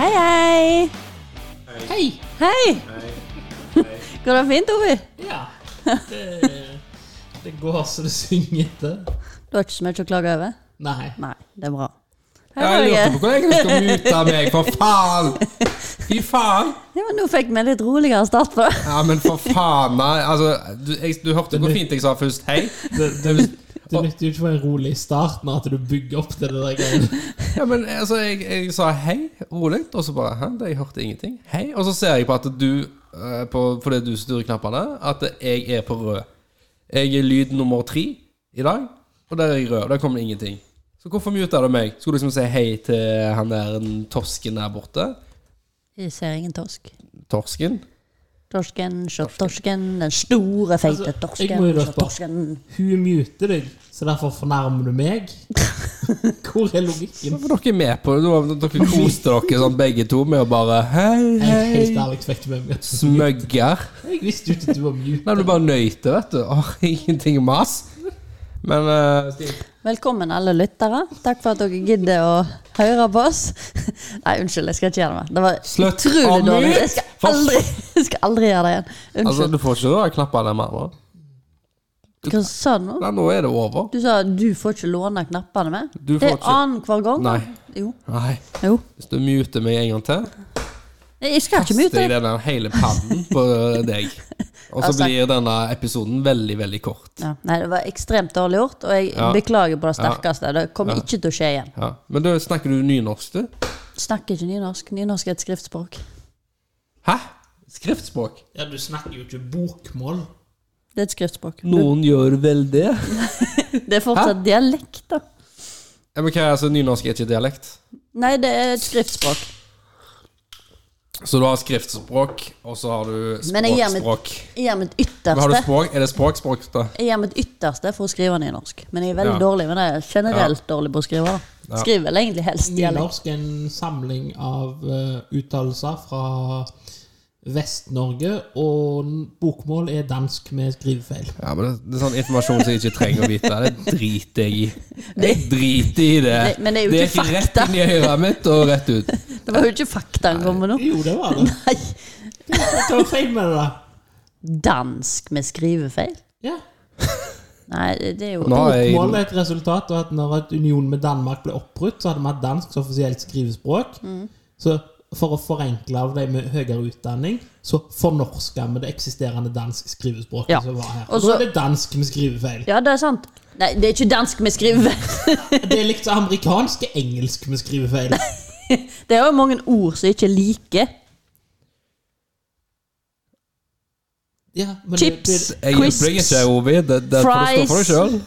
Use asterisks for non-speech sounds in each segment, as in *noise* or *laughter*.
Hei, hei. Hei! Hei. *laughs* Går det fint, Ovi? Ja. Det, det går så det synger etter. Du har ikke så mye å klage over? Nei. Nei, det er bra. Hei, Ja, jeg lurte Norge. på hvor lenge du skal mute meg, for faen! Fy faen! Ja, men nå fikk vi en litt roligere start på *laughs* det. Ja, men for faen, nei. Altså, du, jeg, du hørte hvor fint jeg sa først hei. Det nytter jo ikke å være rolig i starten at du bygger opp til det der greiene. Ja, men altså, jeg, jeg sa hei rolig, og så bare hæ, jeg hørte ingenting. Hei. Og så ser jeg på at du, eh, på, fordi du styrer knappene, at jeg er på rød. Jeg er lyd nummer tre i dag, og der er jeg rød. og Der kom det ingenting. Så hvorfor muta du meg? Skulle du liksom si hei til han der den torsken der borte? Jeg ser ingen torsk. Torsken? Torsken, sjøtorsken, den store, feite Altså, jeg torsken. må jo røpe. Sjøtorsken. Hun muter deg, så derfor fornærmer du meg. Hvor er logikken? Hvorfor er dere med på det? Det var- *laughs* Dere koste dere sånn begge to med å bare hei, Jeg er helt hei. ærlig fikk ikke med meg at du muter. Smøgger. Jeg visste jo ikke at du var Nei, du muter. bare nøyte, vet du. Åh, *laughs* ingenting mas. Men eh, Velkommen, alle lyttere. Takk for at dere gidder å høre på oss. *laughs* Nei, unnskyld, jeg skal ikke gjøre det mer. Det var Slutt å utrolig dårlig. mute! Jeg skal aldri, *laughs* jeg skal aldri gjøre det igjen. altså, Unnskyld. du får ikke røre knappene mer nå. Hva sa du nå? Nei, nå er det over. Du sa du får ikke låne knappene med. Du Det får er ikke- annenhver gang. Nei. Jo. Nei. jo. Hvis du muter meg en gang til, Nei, Jeg skal ikke kaster mute jeg deg. denne hele pannen på eh, deg. Og så Altså- blir denne episoden veldig, veldig kort. Ja. Nei, det var ekstremt dårlig gjort, og jeg Ja. beklager på det sterkeste. Det kommer ikke til å skje igjen. Ja. Men da snakker du nynorsk, du? Snakker ikke nynorsk. Nynorsk er et skriftspråk. Hæ? Skriftspråk? Ja, du snakker jo ikke bokmål. Det er et skriftspråk. Noen gjør vel det? Det er fortsatt dialekt, da. Ja, men hva er altså, Nynorsk er ikke dialekt? Nei, det er et skriftspråk. Så du har skriftspråk, og så har du Men jeg gir språk, mitt- språk. Jeg gjør mitt Men Har du ytterste språk? Er det språk, språk, da? Jeg gjør mitt ytterste for å skrive nynorsk, men jeg er veldig Ja. dårlig med det. Jeg er Generelt dårlig på å skrive. da. Ja. Skriver vel egentlig helst dialekt. Nynorsk er en samling av eh, uttalelser fra Vest-Norge, og n- bokmål er dansk med skrivefeil. Ja, men det, det er sånn informasjon som jeg ikke trenger å vite. Det *laughs* driter jeg i. Jeg driter i det. Det- men det er jo ikke fakta. rett inn i øret mitt og rett ut. Det var jo ikke fakta han kom med nå. Jo, det var det. Nei. Jeg tar feil med det, da. Dansk med skrivefeil? Ja. Nei, det det er jo Nå har Bokmål jeg, er et resultat av at når et union med Danmark ble oppbrutt, så hadde vi hatt dansk som offisielt skrivespråk. Mm. Så for å forenkle av de med høyere utdanning, så fornorska vi det eksisterende dansk skrivespråket Ja. som var her. Og Og så- så er det dansk med skrivefeil. Ja, det er sant. Nei, det er ikke dansk med skrivefeil. Det er likt som amerikansk er engelsk *laughs* med skrivefeil. Det er jo mange ord som ikke er like. Ja, men det- Chips, det- jeg hjelper deg crisps, ikke, Ovi. Det, det får du stå for deg sjøl.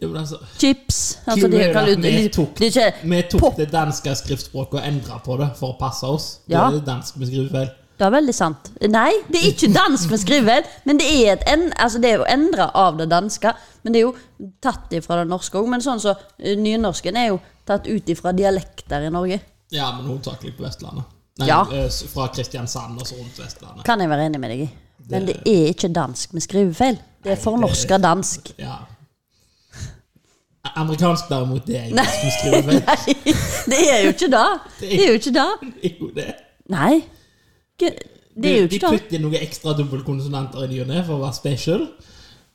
Ja, men altså, chips altså, de Kul er kan at ut- vi de- tok- de er ikke, vi tok Pop. det danske skriftspråket og endra på det for å passe oss. Da Ja. er det dansk med skrivefeil. Det er veldig sant. Nei, det er ikke dansk med skrivefeil, men det er, et en, altså, det er jo endra av det danske. Men det er jo tatt ifra det norske òg. Men sånn så, eh, nynorsken er jo tatt ut ifra dialekter i Norge. Ja, men hovedsakelig på Vestlandet. Nei, Ja. eh, s- Fra Kristiansand og så rundt Vestlandet. Kan jeg være enig med deg i. Men det er ikke dansk med skrivefeil. Det er fornorska dansk. *laughs* Ja. A- Amerikansk, derimot, det er engelsk med skrivefeil. *laughs* Nei, det er jo ikke det. Det er jo ikke det. Det er jo det. Nei. Ikke- Det er jo de ikke sånn. det. putter inn noen ekstra dobbeltkonsonanter i ny og ne for å være special.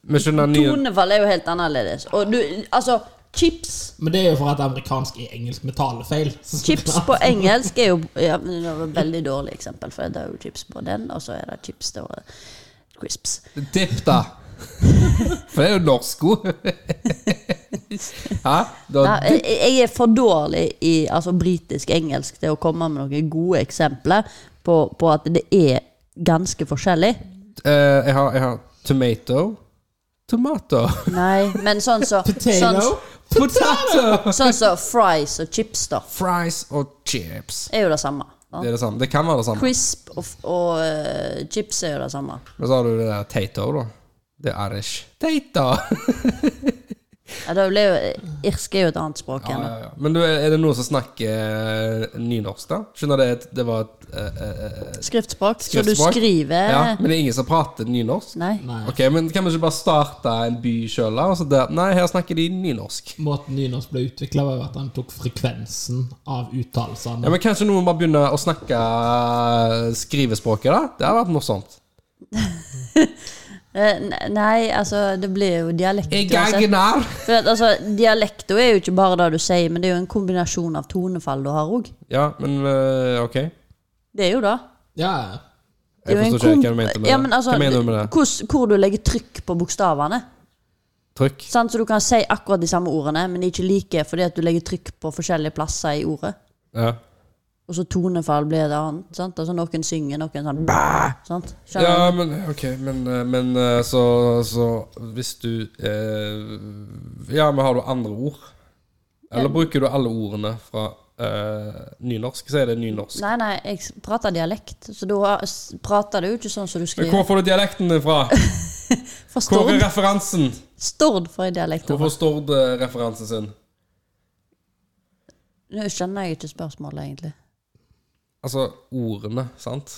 Vi skjønner nye Tonefall er jo helt annerledes. Og du, altså, chips Men det er jo for at amerikansk er engelsk med talefeil. *laughs* Chips *laughs* på engelsk er jo ja, men Det var et veldig dårlig eksempel, for det er jo chips på den, og så er det chips det var crisps. Dipp, *laughs* da. For det er jo norsk ord. Hæ? Da, Ja, jeg, jeg er for dårlig i altså, britisk-engelsk til å komme med noen gode eksempler på, på at det er ganske forskjellig. eh, jeg, har, jeg har tomato. Tomato. Nei, men sånn så Sånn Potato. som Potato. sånn så fries og chips, da, Fries og chips. er jo det samme. sant? Det er det samme. Det kan være det samme. Crisp og, f- og eh, chips er jo det samme. Men så har du det der Tato, da. Det er Irish. Tato! Ja, da ble jo, irsk er jo et annet språk *laughs* Ja, igjen. da. ja, ja. Men du, er det noen som snakker eh, nynorsk, da? Skjønner det at det var et eh, eh, eh, Skriftspråk. Så du skriftspråk? skriver Ja, men det er ingen som prater nynorsk? Nei. Nei. Ok, men Kan vi ikke bare starte en by sjøl, da? Og så der, nei, her snakker de nynorsk. Måten nynorsk ble utvikla, var jo at han tok frekvensen av Ja, uttalelsene. men Kanskje noen bare begynner å snakke eh, skrivespråket, da? Det hadde vært morsomt. Eh, ne- Nei, altså, det altså- blir jo dialekt Jeg uansett. er gnarr. For at, altså, dialekter er jo ikke bare det du sier, men det er jo en kombinasjon av tonefall du har òg. Ja, men eh, ok. Det er jo det. Ja, Det er Jeg jo en forstår ikke hva kom- du mente med ja, det. men altså, hva mener du med det? hvordan- hvor du legger trykk på bokstavene. Trykk? Sant? Så du kan si akkurat de samme ordene, men de er ikke like fordi at du legger trykk på forskjellige plasser i ordet. Ja. Og så tonefall blir det annet. Sant? Altså, noen synger, noen sånn bæ, sant? Skjønner du? Ja, men ok, men, eh, men eh, så, så hvis du eh, Ja, men har du andre ord? Eller bruker du alle ordene fra eh, nynorsk? Så er det nynorsk. Nei, nei, jeg s- prater dialekt, så da har- s- prater du jo ikke sånn som du Men skriver. hvor får du dialekten din fra? Fra Hvor er *laughs* Stord. referansen? Stord får jeg dialekt. Hvor over. får Stord eh, referansen sin? Nå skjønner jeg ikke spørsmålet, egentlig. Altså ordene, sant?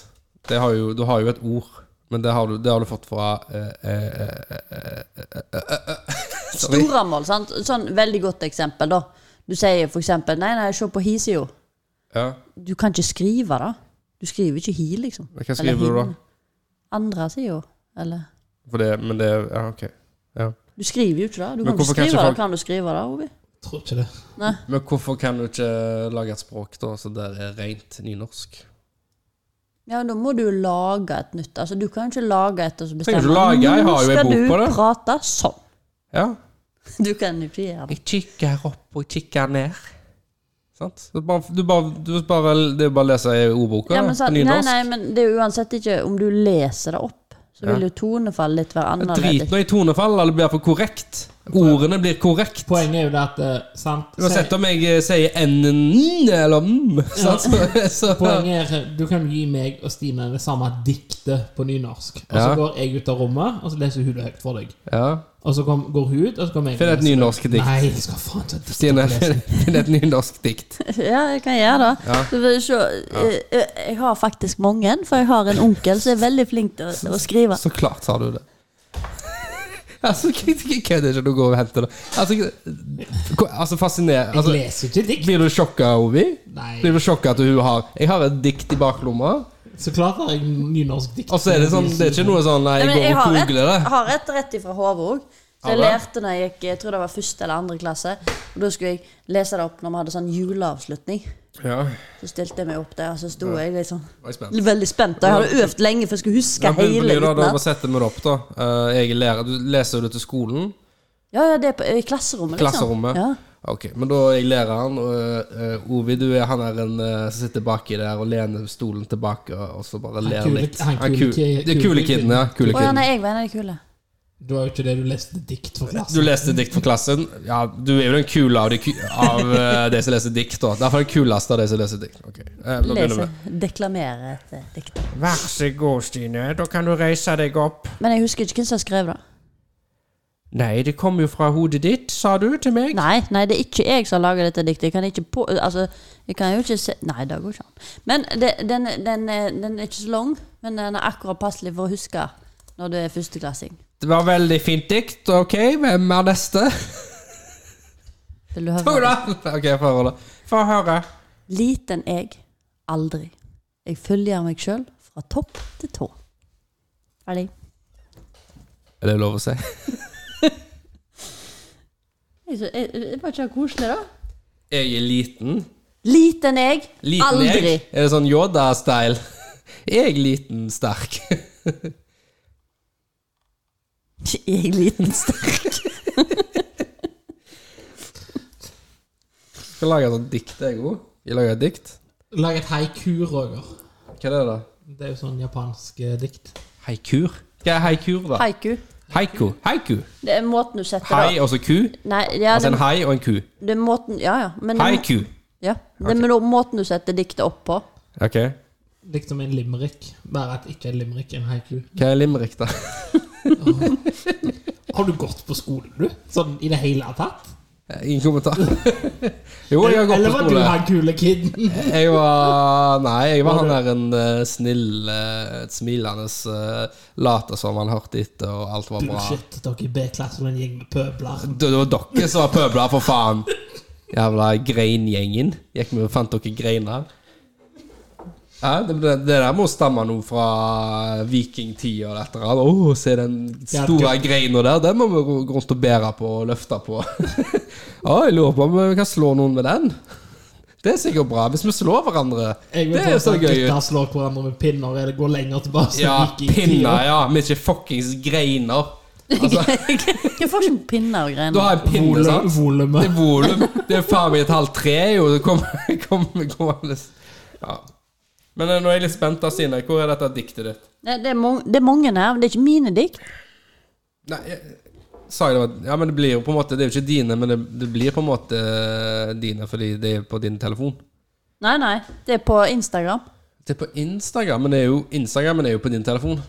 Det har jo, du har jo et ord, men det har du, det har du fått fra eh, eh, eh, eh, eh, eh, eh, eh. Sorry. Storamål, sant? Sånn veldig godt eksempel, da. Du sier for eksempel Nei, nei, se på hi, sier jo. Ja, Du kan ikke skrive, da. Du skriver ikke hi, liksom. Hva skriver du da? hin. Andre, sier jo. Eller for det, men det Ja, ok. Ja. Du skriver jo ikke det. Du kan Men ikke hvorfor skrive kan ikke det. folk- Kan du skrive det, Ovi? tror ikke det. Men hvorfor kan du ikke lage et språk da, så det er rent nynorsk? Ja, da må du lage et nytt. Altså, du kan jo ikke lage et og så Trenger bestemme ikke lage, jeg har jo en bok på det. Nå skal du prate sånn. *laughs* Ja. Du kan jo ikke gjøre det. Jeg kikker opp og kikker ned. Sant? Du bare, du bare, du bare, det er bare å lese i ordboka Ja, men, på sant- nei, nynorsk. nei, men det er jo uansett ikke Om du leser det opp, så Ja. vil jo tonefallet litt være Drit annerledes. nå i tonefall, eller det blir for korrekt. Ordene blir korrekt. Poenget er jo det at eh, sant, Uansett om jeg eh, sier n-n eller m, *laughs* sant? så, så Poenget er eh, du kan gi meg og Stine det samme diktet på nynorsk. Og så Ja. går jeg ut av rommet, og så leser hun det høyt for deg. Ja. Og så kom, går hun ut, og så kommer jeg Finn et og leser nynorsk det. dikt. Nei, jeg skal faen ta dikt. Stine, opp og lese. finn finn et nynorsk dikt. *laughs* Ja, jeg kan gjøre det. Så vil jeg, se, eh, eh, jeg har faktisk mange, for jeg har en onkel som er veldig flink til å, å skrive. Så klart sa du det. *laughs* altså, jeg kødder ikke. Du går og henter det. Altså, k- altså fascinerende. Jeg *laughs* Altså, leser ikke dikt. blir du sjokka, Ovi? Nei. Blir du sjokka at hun har Jeg har et dikt i baklomma, Så klart har jeg nynorsk dikt. og så er det sånn Det er ikke noe sånn Nei, Nei, men jeg går jeg og har et, googler det. har et rett ifra hodet òg. Så jeg Har du? lærte når jeg gikk jeg tror det var første eller andre klasse. Og Da skulle jeg lese det opp når vi hadde sånn juleavslutning. Ja, Så stilte jeg meg opp der, og så sto jeg litt sånn jeg er spent. veldig spent. Og jeg hadde øvd lenge, for jeg skulle huske Ja, men hele blir det da, da bare utenat. setter vi det opp, da. Eh, jeg er lærer. Du leser jo det til skolen. Ja, ja, det er på, i klasserommet, liksom. Klasserommet. Ja. Ok, Men da er jeg læreren, og eh, Ovi, du er han der en, eh, som sitter baki der og lener stolen tilbake og så bare ler kule- litt. han Han kule- kule- Det er kule kiden, ja. Å Kule ja, kiden. nei, jeg var en av de kule. Du har jo ikke det du leste dikt for Du klassen. leste dikt for klassen. Ja, du er jo den kule av de, ku- av eh, de som leser dikt. da Derfor er den kuleste av de som leser dikt. Ok, eh, nå begynner Lese, vi. deklamere et eh, dikt. Vær så god, Stine. Da kan du reise deg opp. Men jeg husker ikke hvem som skrev det. Nei, det kom jo fra hodet ditt, sa du til meg. Nei, nei, det er ikke jeg som har laget dette diktet. Jeg kan ikke på... Altså, jeg kan jo ikke se... Nei, det går ikke an. Men det, den, den, er- den er ikke så lang, men den er akkurat passelig for å huske når du er førsteklassing. Det var veldig fint dikt. Ok, hvem er neste? Vil du høre? Ola! Ok, jeg får høre det. Få høre. Liten jeg, aldri. Jeg følger meg sjøl fra topp til tå. Ferdig. Er det lov å si? Jeg sy- jeg- jeg- Var ikke det koselig, da? Jeg er liten. Liten jeg, Liten aldri. jeg. Er det sånn Yoda-style? *laughs* Jeg liten, sterk. *laughs* Jeg er liten sterk. Skal lage et sånt dikt, jeg òg. Jeg lager et dikt. Lag et haiku, Roger. Hva er det, da? Det er jo sånn japansk eh, dikt. Haikur? Hva er haikur, da? Haiku. Haiku. Haiku. Det er måten du setter Hai det og så ku. Nei, ja, Altså det, en hai og en ku. det er måten Ja, ja. Men det, Haiku. Ja, det er med måten du setter diktet opp på. Ok. Likt som en limerick, bare at ikke en limerick er en haiku. Hva er limerick, da? Har du gått på skole, du? Sånn i det hele tatt? *laughs* Ingen kommentar. *laughs* jo, jeg har gått Eller på var du skole. han kule *laughs* kiden? Jeg var Nei, jeg var han der en eh, snill, eh, smilende uh, later som han hørte etter, og alt var bra. Bullshit. Dere i B-klasse og en gjeng med pøbler. Det, det var dere som var pøbler, for faen! Jævla grengjengen. Gikk vi og fant dere greiner. Ja, det, det det der må stamme noe fra vikingtida og dette. Å, se den store greina der. Den må vi gå gå rundt og bære på og løfte på. *laughs* Å, jeg lurer på om vi kan slå noen med den. Det er sikkert bra, hvis vi slår hverandre. Jeg vil Det er jo påstå så at gøy. ut. gutter slår hverandre med pinner eller går lenger tilbake. så Ja, gikk i pinner, tida. ja. Vi er ikke fuckings *laughs* greiner. Altså, Jeg får ikke pinner og du greier. har en pinne, Volum- sant? Det Volumet. er volum. Det er faen meg et halvt tre, jo. Det kommer *laughs* kom, kom, ja. Men eh, nå er jeg litt spent, da, Stine. Hvor er dette diktet ditt? Det, det, er mange, det er mange her, men det er ikke mine dikt. Nei, jeg, sa jeg det var Ja, men det blir jo på en måte Det er jo ikke dine, men det, det blir på en måte eh, dine fordi det er på din telefon. Nei, nei. Det er på Instagram. Det er på Instagram, men det er jo, Instagram, men det er jo på din telefon.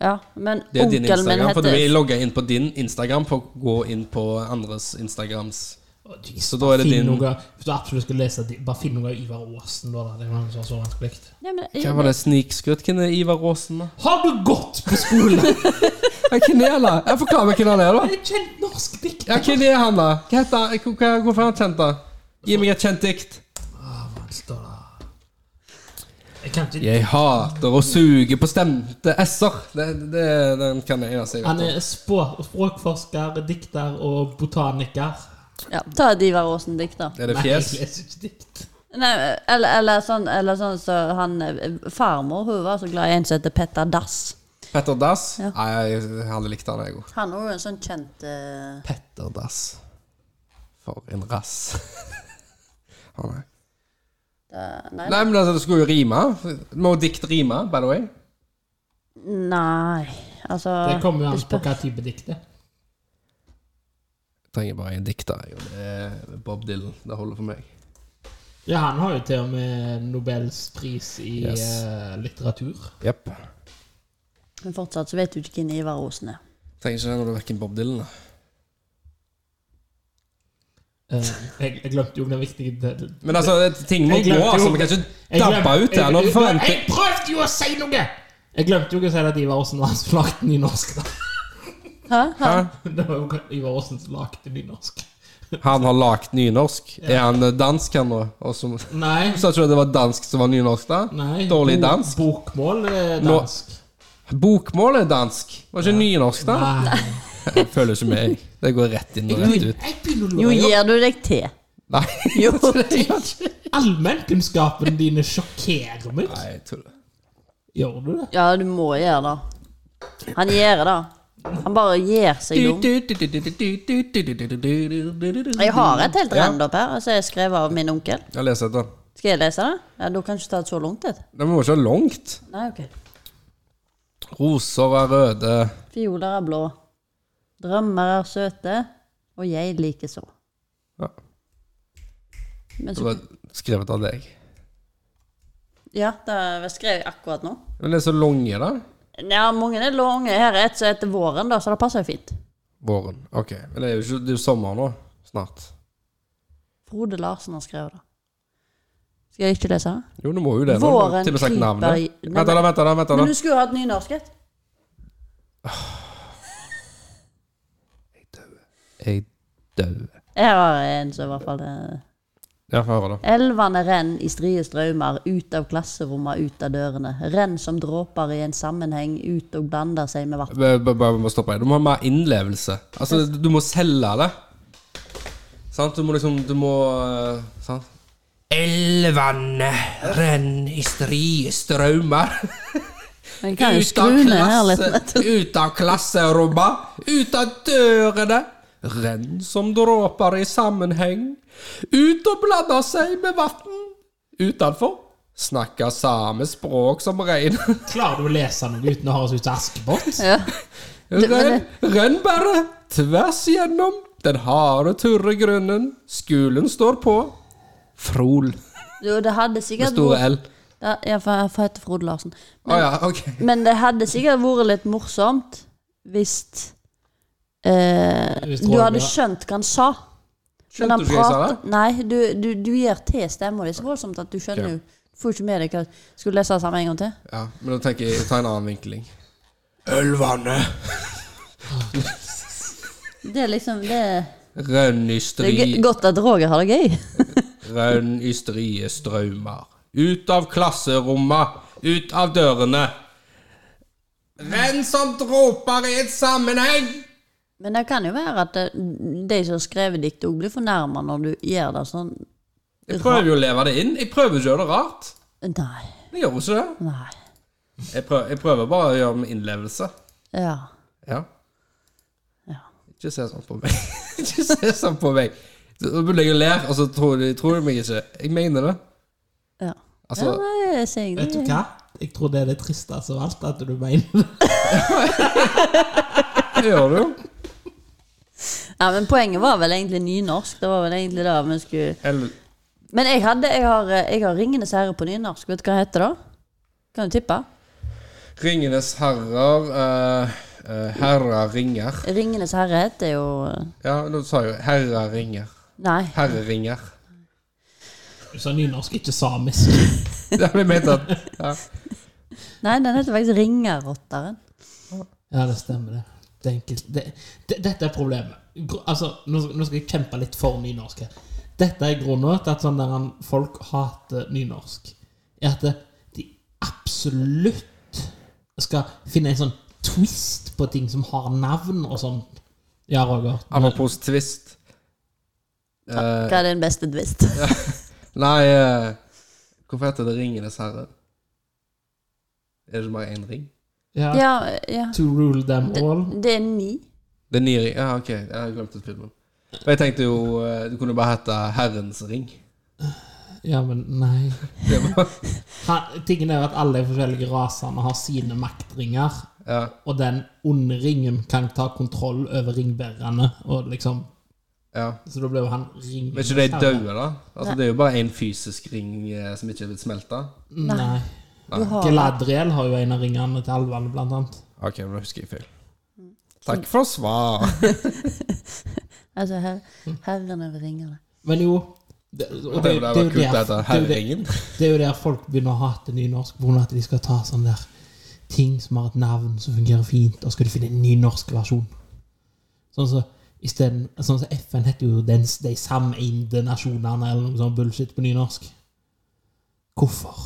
Ja, men Det er din onkelen min Instagram, for du heter er logga inn på din Instagram for å gå inn på andres Instagrams. Å, jeez, Så da er det finn din- Noe, hvis du absolutt skal lese det, bare finn noe av Ivar Aasen. Da, da. Det var noe som var så vanskelig. Nei, men, Hva var det snikskrutt? Hvem er Ivar Aasen, da? Har du gått på *laughs* skole? Ja, Hvem er han, da? Jeg Forklar meg hvem han er, da. En kjent norsk dikter. Ja, hvem er han, da? Hva heter han? Hvor- hva- Hvorfor er han kjent, da? Gi meg et kjent dikt. Da, da. Jeg kan ikke Jeg hater å suge på stemte s-er. Det, det, den kan jeg eneste jeg Han vet om. er spå, språkforsker, dikter og botaniker. ja, ta et Ivar Aasen-dikt, da. Er det Nei, jeg fjes? leser ikke dikt. Nei, eller, eller sånn Eller sånn så han eh, Farmor hun var så glad i en som heter Petter Dass. Petter Dass? Ja. Nei, jeg jeg hadde likt han, jeg òg. Han er jo en sånn kjent eh, Petter Dass. For en rass. *laughs* Å, nei. eh, Nei. nei, men altså, det skulle jo rime. Må dikt rime, by the way? Nei, altså Det kommer jo an det på spør- hva type dikt det er. Trenger bare en dikter. jeg, og det er Bob Dylan. Det holder for meg. Ja, han har jo til og med Nobels pris i Yes. eh, litteratur. Jepp. Men fortsatt så vet du ikke hvem Ivar Aasen er. Trenger ikke det når du er verken Bob Dylan, da. Eh, jeg, jeg glemte jo den viktige delen. Men altså, det- ting må Jeg gå, glemte altså. jo- Vi kan ikke Jeg dabbe glemte- ut her. Når jeg- du forventer Jeg prøvde jo å si noe! Jeg glemte jo ikke å si at Ivar Aasen var han som lagde nynorsk. da. *laughs* Hæ? Hæ? Hæ? Det var jo Ivar Aasen som lagde nynorsk. Han har lagt nynorsk. Er han eh, dansk, han nå? Og så- *laughs* Nei. Sa ikke du at det var dansk som var nynorsk, da? nei Dårlig bo- dansk? Bokmål er Nå- dansk. Bokmål er dansk. Var ikke nynorsk, da? Nei. Jeg føler ikke med. jeg. Det går rett inn og rett ut. Jeg begynner å Jo, lure. gir du deg til? Nei, *laughs* Jo. Allmennkunnskapen dine sjokkerer meg. Nei jeg tuller. Gjør du det? Ja, du må gjøre det. Han gjør det. Han bare gjør seg dum. Jeg har et helt Ja. rendopp her, som jeg skrev av min onkel. Jeg leser etter. Skal jeg lese det? Ja, Da kan du ikke ta det så langt. Det. Det må ikke være langt. Nei, ok. Roser er røde. Fioler er blå. Drømmer er søte. Og jeg likeså. Ja. Men Det så var skrevet av deg. Ja, det skrev jeg akkurat nå. Men det er så lange, da. Ja, mange er lange. Her er et som heter Våren, da, så det passer jo fint. Våren. Ok. Men det er jo ikke det er jo sommer nå. Snart. Frode Larsen har skrevet det. Skal jeg ikke lese det? Jo, du må jo det. nå. Våren Til og med sagt kryper navnet. i- Nei, Vent da, men- vent da, vent da. Men du skulle hatt nynorsk. et. Jeg dør. Jeg har en som i hvert fall eh, Ja, få høre, da. Elvene renn i strie strømmer, ut av klasserommet, ut av dørene. Renn som dråper i en sammenheng, ut og blander seg med vann. B- b- Bare må stoppe. Du må ha mer innlevelse. Altså, du må selge det. Sant? Du må liksom Du må eh, Sant? Elvene renn i strie strømmer. Men jeg kan jo Ut av, skru ned her klasse, litt. ut av klasserommet, ut av dørene. Renn som dråper i sammenheng. Ut og blander seg med vann. Utenfor. Snakker samme språk som *laughs* rein. Klarer du å lese noe uten å høres ut som Askepott? Ja. Rønn, rønn bare tvers gjennom den harde, tørre grunnen. Skolen står på. Frol. Jo, det hadde Med sikkert store L. Ja, ja, for jeg for jeg heter Frode Larsen. Å ja, ok. Men det hadde sikkert vært litt morsomt hvis eh, Hvis det Du var hadde bra. skjønt hva han sa. Men Skjønte han du ikke hva jeg sa der? prater- Nei, du, du, du gir til stemma di så voldsomt at du skjønner Ja. jo Du får ikke med deg hva Skulle du lese det samme en gang til? Ja, men da tenker jeg ta en annen vinkling. Ølvannet! Det er liksom Det, Rønn det er ysteri, g- godt at Roger har det gøy. rønn ysteriet strømmer. Ut av klasserommet, ut av dørene. Renn som dråper i et sammenheng! Men det kan jo være at eh, de som har skrevet dikt, òg blir fornærma når du gjør det sånn. Jeg prøver jo å leve det inn. Jeg prøver ikke å gjøre det rart. Nei. Jeg gjør jo ikke det. Nei. Jeg prøver, jeg prøver bare å gjøre det med innlevelse. Ja. Ja. Ja. Ikke se sånn på meg. *laughs* ikke se sånn på meg. Så begynner jeg å le, og så tror de, tror de meg ikke. Jeg mener det. ja. Altså, ja, nei, jeg ser Vet du egentlig hva? Jeg tror det er det tristeste av alt, at du mener det. det gjør du jo. Ja, men poenget var vel egentlig nynorsk. Det var vel egentlig det vi skulle Eller Men jeg, hadde, jeg, har, eh, jeg har 'Ringenes herre' på nynorsk. Vet du hva det heter da? Kan du tippe? Ringenes herrer uh, Herrer ringer. 'Ringenes herre' heter jo eh, Ja, nå sa jeg jo herrer ringer. Nei. Herre ringer. Du sa nynorsk, ikke samisk. Det ble ment at ja. Nei, den heter faktisk 'Ringerotteren'. Ja, det stemmer, det. det, er enkelt. det, det dette er problemet. Gr- Altså, nå, nå skal jeg kjempe litt for nynorsk her. Dette er grunnen til at sånn der han- folk hater nynorsk. Er at det- de absolutt skal finne en sånn twist på ting som har navn og sånn. Ja, Roger. Apropos tvist. Eh, Hva er din beste twist? nei eh, Hvorfor heter det Ringenes herre? Er det ikke bare én ring? Ja. ja, ja. To rule them all. Det er ni. Det er nye ring. Ja, ok. Jeg har glemt ut filmen. Og jeg tenkte jo eh, Du kunne bare hete Herrens ring. *laughs* Ja, men nei. Det var, Han, tingen er jo at alle de forskjellige rasene har sine maktringer, ja. og den onde ringen kan ta kontroll over ringbærerne, og liksom ja. Så da ble jo han ring... Men er ikke de døde, da? Altså, det er jo bare én fysisk ring eh, som ikke er blitt smelta. Nei. Du har Galadriel har jo en av ringene til alvene, blant annet. Ok, men da husker jeg feil. Takk for svar. Altså, her, herren over ringene. Men jo det, og *laughs* Det ville det er vært jo kult å der- det hete er jo der- Herringen. det er jo der folk begynner å hate nynorsk, på grunn av at de skal ta sånn der ting som har et navn som fungerer fint, og skal du finne en nynorsk versjon. Sånn som i stedet, sånn som FN heter jo den, De sameide nasjonene, eller noe sånn bullshit på nynorsk. Hvorfor?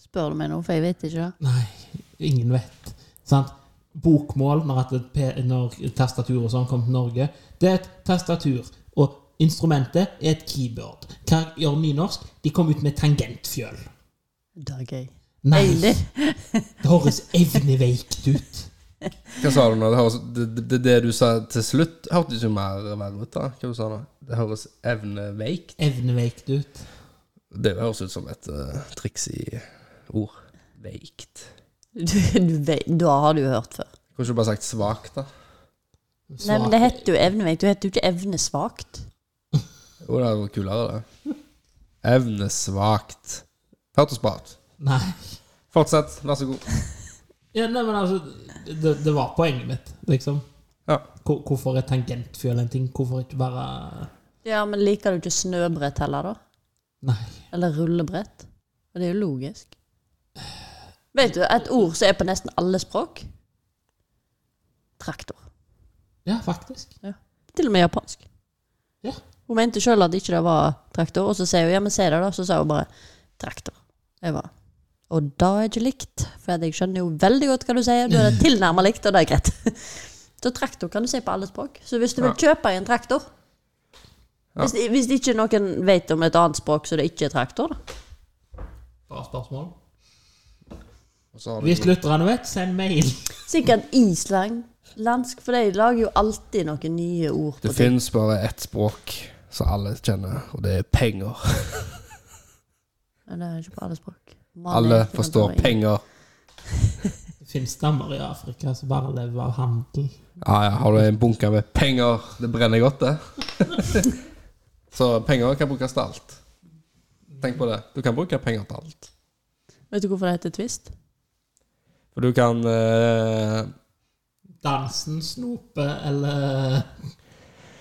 Spør du meg nå, for jeg vet ikke det. Nei, ingen vet. Sant? Bokmål, når, at et P- når tastatur og sånn kom til Norge, det er et tastatur. Og instrumentet er et keyboard. Hva gjør nynorsk? De kom ut med tangentfjøl. Det er gøy. Nei, Egentlig. det høres evneveikt ut. Hva sa du nå? Det, høres, det, det, det du sa til slutt, hørtes jo mer verre ut. da Hva du sa nå? Det høres evneveikt Evneveikt ut. Det høres ut som et eh, triks i ord. Veikt. Du, du vet, da har du jo hørt før. Kunne ikke du bare sagt svakt, da? Nei, men det heter jo evneveikt. Du heter jo ikke evnesvakt. Jo, det hadde vært kulere, det. Evnesvakt. Hørtes bra ut. Nei. Fortsett, vær så god. Ja, nei, men altså, det, det var poenget mitt, liksom. Ja. Hvor- Hvorfor er tangentfjøl en ting? Hvorfor ikke bare Ja, men liker du ikke snøbrett heller, da? Nei. Eller rullebrett? Og det er jo logisk. Vet du et ord som er på nesten alle språk? Traktor. Ja, faktisk. Til og med japansk. Ja. Hun mente sjøl at ikke det var traktor, og så sier hun ja, men si det, da. Så sa hun bare traktor. Jeg var Og da er det ikke likt, for at jeg skjønner jo veldig godt hva du sier. Du er *laughs* tilnærma likt, og det er greit. Så traktor kan du si på alle språk. Så hvis du vil kjøpe en traktor hvis, hvis ikke noen vet om et annet språk så det ikke er traktor, da. Bra spørsmål. Og så har du- Hvis lytterne vet, send mail. Sikkert islandsk, for de lager jo alltid noen nye ord på Det ting. finnes bare ett språk som alle kjenner, og det er penger. Men det er ikke på alle språk. Man er Alle ikke forstår noe- penger. Det finnes stammer i Afrika som bare lever av handel. Ja, ja, har du en bunke med penger, det brenner godt, det. *laughs* Så penger kan brukes til alt. Tenk på det. Du kan bruke penger til alt. Vet du hvorfor det heter twist? For du kan eh, dansen, snope eller eh,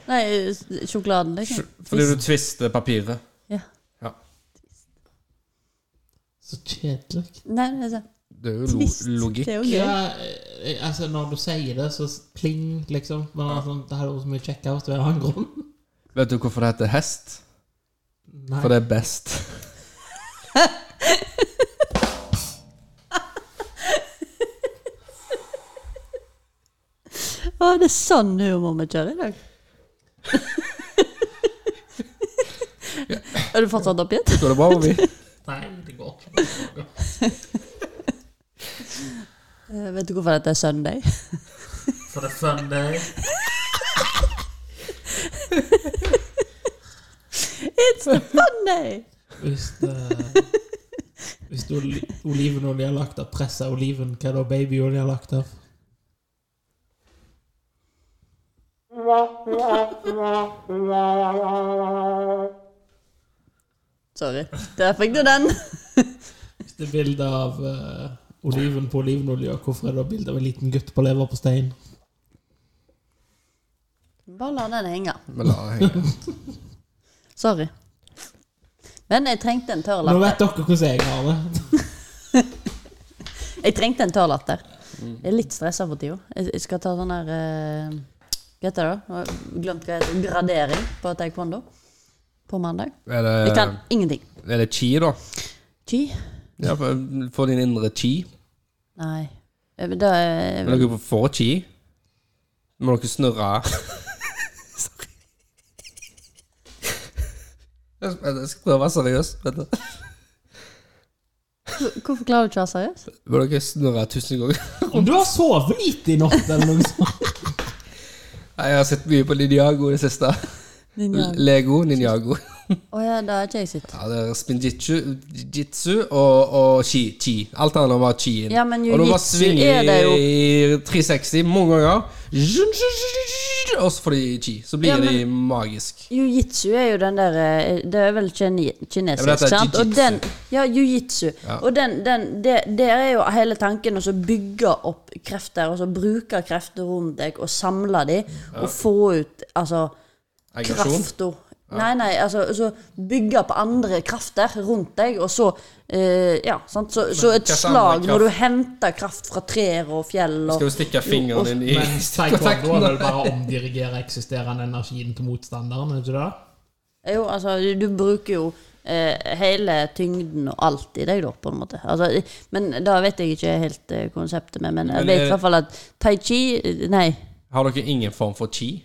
Nei, s- sjokoladen, liksom. Fordi du tvister papiret. Ja. Ja. Så kjedelig. Nei, det er sant. Det er jo lo Trist. logikk. Det er jo gøy. Ja, eh, altså Når du sier det, så pling, liksom. Men altså, det hadde vært så mye kjekkere hvis det var en annen grunn. Vet du hvorfor det heter hest? Nei. For det er best. Å, det er sånn humor vi kjører *laughs* i dag. Er du sånn fortsatt oppgitt? Går det bra, Ovi? Nei, det går ikke. Eh, Vet du hvorfor dette er Sunday? For det er Sunday. *laughs* It's the Funday! Hvis, det, hvis det er oli- olivenolje er lagt av pressa oliven, hva er da babyolje er lagt av? Sorry. Der fikk du den. Hvis det er bilde av eh, oliven på olivenolje, hvorfor er det da bilde av en liten gutt på leverposteien? Bare la den henge. Men la det henge. Sorry. Men jeg trengte en tørr Nå latter. vet dere hvordan jeg har det. Jeg trengte en tørr latter. Jeg er litt stressa for tida. Jeg jeg skal ta sånn her eh, Hva heter det? da? Nå har jeg Glemt hva det heter. Gradering på taekwondo på mandag. Er det, Jeg kan ingenting. er det chi, da? Chi? Ja, for, for din indre chi. Nei. Eh, men Da Men er dere får chi. Må dere snurre Sorry. Jeg skal- jeg skal prøve å være seriøs. Vent da. Hvorfor klarer du ikke å være seriøs? Må dere snurre tusen ganger. Om du har sovet lite i natt eller noe sånt. *laughs* Nei, Jeg har sett mye på Ninjago i det siste. Å Lego, Ninjago. ja, da er ikke jeg sitt. Ja, det er spinjitsu, jitsu og, og chi, chi. Alt handler om å ha chi inn. Ja, men og du bare jiu-jitsu svinger er det jo. i 360 mange ganger, Zhun, zhun, zhun, zhun, zhun, og så får de chi. Så blir Ja, men- de magisk. Jiu-jitsu er jo den der eh, Det er vel kine- Ja, men dette kinesisk, er sant? Og jiu-jitsu. den, ja, jiu-jitsu. Og den, den det, Der er jo hele tanken å så bygge opp krefter, og så bruke krefter rundt deg, og samle de, og få ut altså Aggresjon. krafta. Nei, nei, altså, så bygge på andre krefter rundt deg, og så eh, Ja, sant. Så, så et hva slags slag, andre når du henter kraft fra trær og fjell og Skal du stikke fingeren din i Men taekwondo er vel kontakten? bare å omdirigere eksisterende energien til motstanderen, er det ikke det? Jo, altså, du, du bruker jo eh, hele tyngden og alt i deg, da, på en måte. Altså, i- men da vet jeg ikke helt eh, konseptet med, men, Men eh, jeg vet er- i hvert fall at tai chi eh, Nei. Har dere ingen form for chi?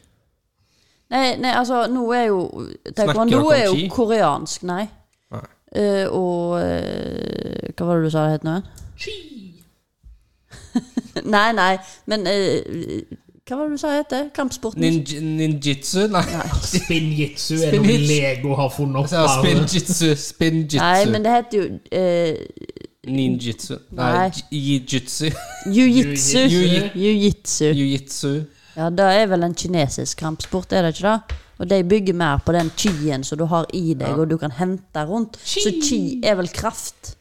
Nei, nei altså, nå er jo dere Taekwondo om er jo chi? koreansk, nei. Nei. Eh, og eh, Hva var det du sa det het nå igjen? nei, nei, men eh, Hva var det du sa det het? Kampsporten? Ninj, ninjitsu? Nei. Spinjitsu er noe Spinjitsu. Lego har funnet Jeg sa opp. her. Spinjitsu. nei, Spinjitsu. men det heter jo eh, Ninjitsu. Nei, Nei. *laughs* jijitsu. jiu-jitsu. Jiu-jitsu. Jiu-jitsu. Jiu-jitsu. Ja, det er vel en kinesisk kampsport, er det ikke det? Og de bygger mer på den qien som du har i deg, og du kan hente rundt. Så qi er vel kraft?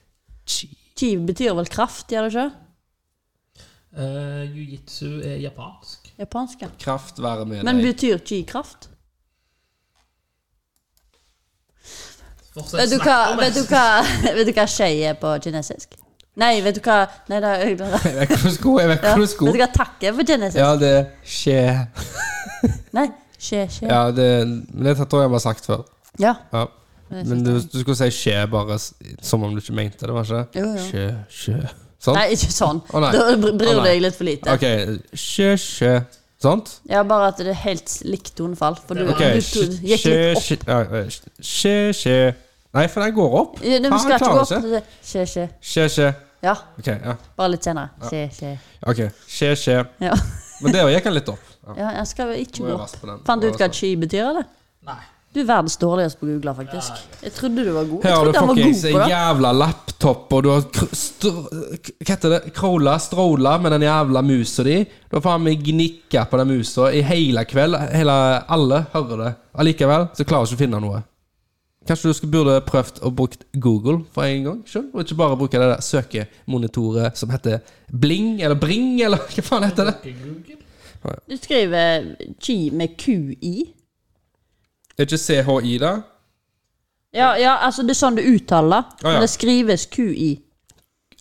Chi. Qi betyr vel kraft, gjør det ikke? Eh, Jiu-jitsu er japansk. Japansk, ja. Kraft være med Men deg. betyr qi kraft? Fortsett Vet du snakk hva, om vet du det. hva, vet du hva *laughs* skei er på kinesisk? Nei, vet du hva Nei, *laughs* det er øyne. Jeg vet ikke hvor sko jeg vet Ja. ikke hvor sko. Vet du hva takk er på kinesisk? Ja, det skjer. Nei, skje, skje. Ja, det, men det tror jeg vi har sagt før. Ja. Ja. det Men synes du, jeg. du skulle si skje bare s- som om du ikke mente det, var ikke Jo, jo. Skje, skje. Sånn? Nei, ikke sånn. Å, nei. Da br- bryr Å, du nei. deg litt for lite. Ok, skje, skje. Sant? Ja, bare at det er helt likt tonefall. For du, Ok, du skje, tog, gikk skje, litt opp. skje, ja, eh, skje, skje. Nei, for den går opp. Ja, men Faen, vi skal jeg ikke gå klarer opp. så- Skje, skje. Skje, skje. Ja, Ok, ja. bare litt senere. Skje, skje. Ok, skje, skje. Ja, Men der gikk han litt opp. Ja. ja jeg skal ikke Må gå jeg opp. raspe den? Fant du ut Må jeg hva chi betyr, eller? Nei. Du er verdens dårligste på å google, faktisk. Jeg trodde du var god. Jeg Her har du trodde han var god fuckings på en det. jævla laptop, og du har kr- str- Hva heter det? Crolla, stråla med den jævla musa di. Du har faen meg gnikka på den musa i hele kveld. Hele, alle hører det. Allikevel så klarer du ikke å finne noe. Kanskje du skulle burde prøvd å brukt Google for en gang sjøl, og ikke bare bruke det der søkemonitoret som heter Bling, eller Bring, eller *laughs* hva faen heter det? Du skriver Chi med QI. Er ikke CHI, da? Ja, ja, altså det er sånn du uttaler. Ja, ja. Men det skrives QI.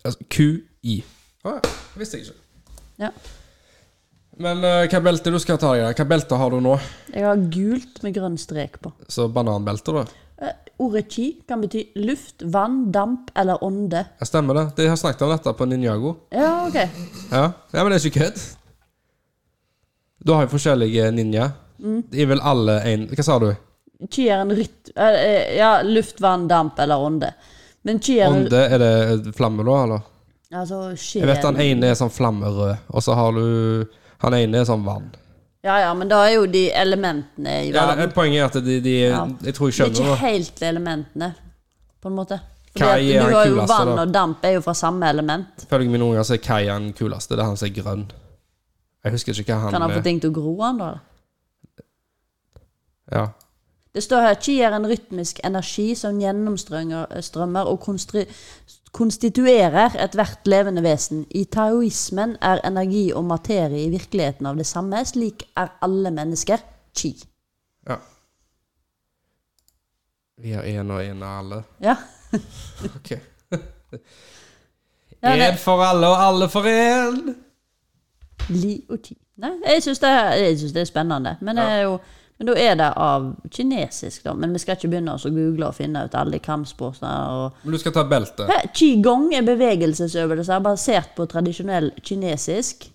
Altså QI. Å ja, det visste jeg ikke. Ja. Men eh, hva belte du skal ta deg, da? Hva belte har du nå? Jeg har gult med grønn strek på. Så bananbelte, da? Eh, Ordet chi kan bety luft, vann, damp eller ånde. Ja, stemmer det. De har snakket om dette på Ninjago. Ja, ok. Ja, ja men det er ikke kødd. Du har jo forskjellige eh, ninja. Mm. De er vel alle en Hva sa du? Chi er en rytt... eh, eh, Ja, luft, vann, damp eller ånde. Men chi er en- Ånde, er det flamme da, eller? Altså, chi Jeg vet han er en- ene er sånn flammerød, og så har du Han ene er sånn vann. Ja, ja, men da er jo de elementene i Ja, verden. det- poenget er at de, de Ja. Jeg tror Det er jeg skjønner ikke det. helt elementene, på en måte. Fordi Hva at er du den har jo kuleste, vann da? og damp er jo fra samme element. Følger mine unger, så er Kai han kuleste. Det er han som er grønn. Jeg husker ikke hva han, Kan han få er. ting til å gro han, da? Ja. Det står her Qi er en rytmisk energi som gjennomstrømmer strømmer og konstri- konstituerer ethvert levende vesen. I taoismen er energi og materie i virkeligheten av det samme. Slik er alle mennesker qi. ja. Vi har én og én av alle. Ja. Ok. Ja, Én det- for alle og alle for én! Li og qi. Nei, jeg syns det, er- jeg synes det er spennende. Men, det er jo, men da er det av kinesisk, da. Men vi skal ikke begynne oss å google og finne ut alle kampsportene og Men du skal ta beltet. Hæ, Qigong er bevegelsesøvelser basert på tradisjonell kinesisk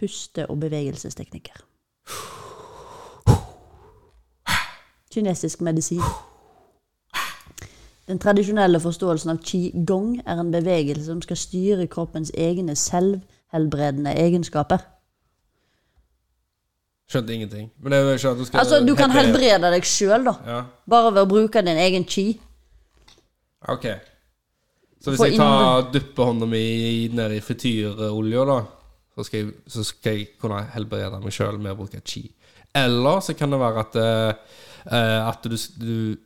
puste- og bevegelsesteknikker. Kinesisk medisin. Den tradisjonelle forståelsen av qigong er en bevegelse som skal styre kroppens egne selvhelbredende egenskaper. Skjønte ingenting. Men det er jo ikke at du skal Altså, du kan hepe- helbrede deg sjøl, da. Ja, Bare ved å bruke din egen qi. ok. Så hvis For jeg tar dupper hånda mi ned i frityrolja, da, så skal, jeg, så skal jeg kunne helbrede meg sjøl med å bruke chi. Eller så kan det være at, eh, eh, at du, du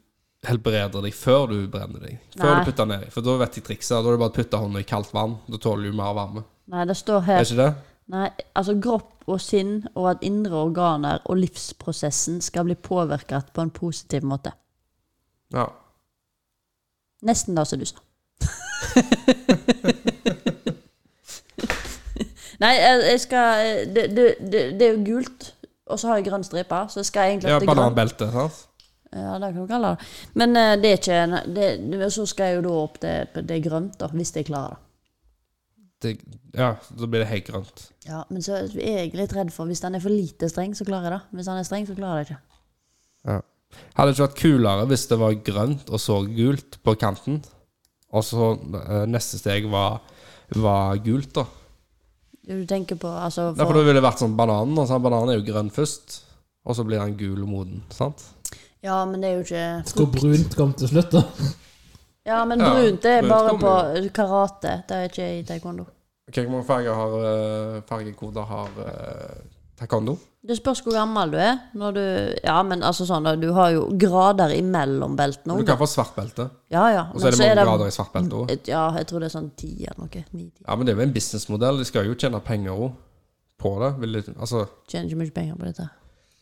helbreder deg før du brenner deg. Før Nei. du putter nedi. For da vet jeg trikset. Da er det bare å putte hånda i kaldt vann. Da tåler du mer varme. Nei, det står her Er ikke det? Nei, altså kropp og sinn, og at indre organer og livsprosessen skal bli påvirket på en positiv måte. Ja. Nesten da, som du sa. *laughs* Nei, jeg, jeg skal det, det, det, det er jo gult, og så har jeg grønn stripe, så skal jeg egentlig ja at det er grønn. Bananbelte, sant? Ja, det kan du kalle det. Men eh, det er ikke en- det, det- Så skal jeg jo da opp til det er grønt, da, hvis jeg klarer det. Det, ja, da blir det helt grønt. Ja, Men så er jeg litt redd for hvis den er for lite streng, så klarer jeg det. Hvis den er streng, så klarer jeg det ikke. Ja. Hadde det ikke vært kulere hvis det var grønt og så gult på kanten? Og så eh, neste steg var, var gult, da. Du tenker på altså Derfor det ville det vært sånn bananen. Og sånn, bananen er jo grønn først, og så blir den gul og moden. sant? Ja, men det er jo ikke Skal brunt komme til slutt, da? Ja, men Ja, brunt det er brunt bare på kommer karate. Det er ikke i taekwondo. Ok, Hvor mange farger har eh, fargekoder har eh, taekwondo? Det spørs hvor gammel du er. Når du, ja, men altså sånn da, Du har jo grader imellom beltene Du òg. kan få svart belte, Ja, ja. og så er det mange grader i svart belte òg. et- Ja, jeg tror det er sånn ti eller noe. Ni-ti. Ja, men det er jo en businessmodell. De skal jo tjene penger òg på det. Vil de, altså... Tjener ikke mye penger på dette.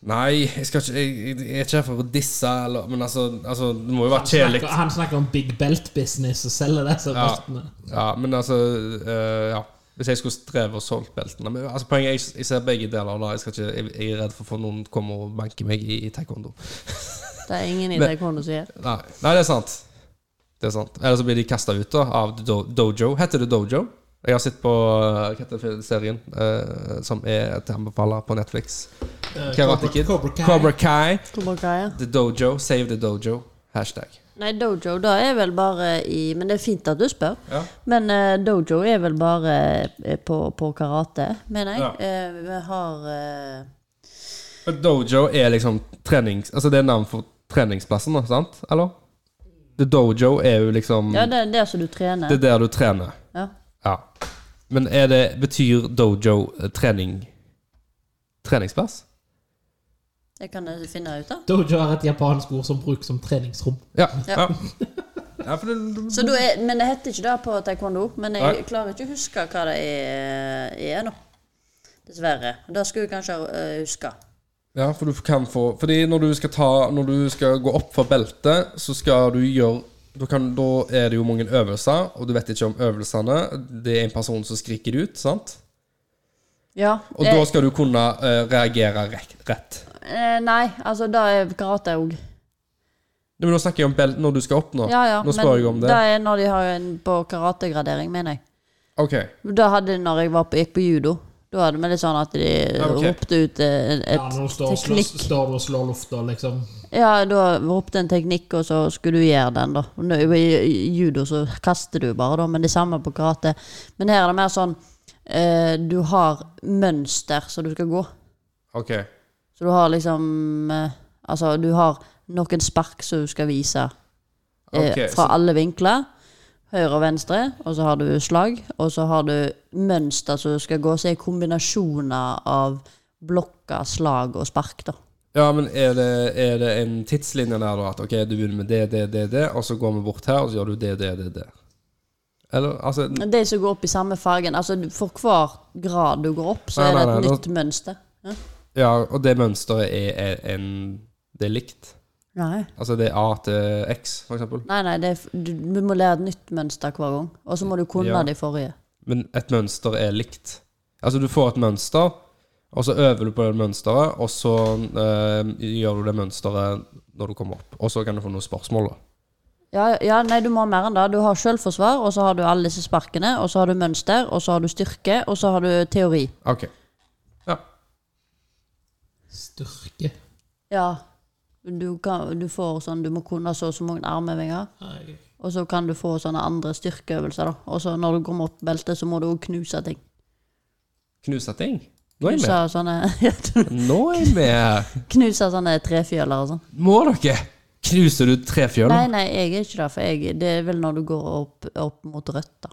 Nei, jeg, skal ikke, jeg, jeg, jeg er ikke her for å disse, eller, men altså, altså Det må jo være kjedelig. Snakker, han snakker om big belt business og selger disse Ja. beltene. Ja, men altså eh, Ja. Hvis jeg skulle streve og solgt beltene men, altså, Poenget er jeg, jeg ser begge deler. Da. Jeg, skal ikke, jeg, jeg er redd for å få noen komme og banke meg i, i taekwondo. Det er ingen i Men- taekwondo som gjør Nei, nei, det er sant. Det er sant. Eller så blir de kasta ut da, av do, dojo. Heter det dojo? Jeg har sett på eh, Hva heter den serien eh, som er til å anbefale på Netflix? Eh, Karate Kid. Cobra Kai. Cobra Kai. Kobrakaya. The Dojo. Save the dojo. Hashtag. Nei, dojo da er vel bare i Men det er fint at du spør. Ja. Men eh, dojo er vel bare eh, på, på karate, mener jeg. Ja. Eh, vi har eh, Men dojo er liksom trenings... Altså det er navn for treningsplassen, da, sant? Eller? The dojo er jo liksom Ja, det er det som du trener. Det er der du trener. Ja. Ja. Men er det Betyr dojo eh, trening Treningsplass? Det kan dere finne ut av. Dojo er et japansk ord som brukes som treningsrom. Ja. ja. Ja. ja for det, Så da er, men det heter ikke det på taekwondo. Men jeg Nei. klarer ikke å huske hva det er, er nå. Dessverre. Og Det skulle jeg kanskje øh, huske. Ja, for du kan få Fordi når du skal, ta, når du skal gå opp for beltet, så skal du gjøre da, kan, da er det jo mange øvelser, og du vet ikke om øvelsene. Det er en person som skriker det ut, sant? Ja. Og da skal du kunne eh, reagere rek rett. eh, nei, altså det er karate òg. Nei, men Nå snakker jeg om belt når du skal opp nå. Ja, ja. nå spør jeg om det. er når de har en på karategradering, mener jeg. Ok. Da hadde når jeg var på, gikk på judo. Da hadde vi litt sånn at de ok. ropte ut eh, et Ja, når du står, og slår- teknikk. står du og slår lufta, liksom. Ja, da ropte en teknikk, og så skulle du gjøre den, da. Nå- I i judo så kaster du bare, da, men det samme på karate. Men her er det mer sånn eh, Du har mønster som du skal gå. ok. Så du har liksom eh, Altså, du har noen spark som du skal vise eh, Ok, fra så- alle vinkler. Høyre og venstre, og så har du slag. Og så har du mønster som du skal gå, så er kombinasjoner av blokker, slag og spark, da. Ja, men er det, er det en tidslinje der, da? At ok, du begynner med det, det, det, det, og så går vi bort her, og så gjør du det, det, det, det. Eller altså De som går opp i samme fargen. Altså du- for hver grad du går opp, så Nei, er det nei, et nei, nytt mønster. Ja. Ja, og det mønsteret er, er en Det er likt. Nei. Altså det er A til X, for eksempel. Nei, det er, f- du, du må lære et nytt mønster hver gang. Og så må du kunne Ja. de forrige. Men et mønster er likt. Altså du får et mønster, og så øver du på det mønsteret, og så eh, gjør du det mønsteret når du kommer opp. Og så kan du få noen spørsmål, da. Ja, ja, nei, du må ha mer enn det. Du har selvforsvar, og så har du alle disse sparkene, og så har du mønster, og så har du styrke, og så har du teori. OK. Ja. Styrke. Ja. Du, kan, du får sånn Du må kunne så og så mange armøvinger. Nei. Og så kan du få sånne andre styrkeøvelser, da. Og så når du kommer opp beltet, så må du òg knuse ting. Knuse ting. Nå er jeg Knuse med. sånne, *laughs* Nå er jeg med. knuse sånne trefjøler og sånn. Må dere? Knuser du trefjøla? Nei, nei, jeg er ikke det. For jeg, det er vel når du går opp, opp mot rødt, da.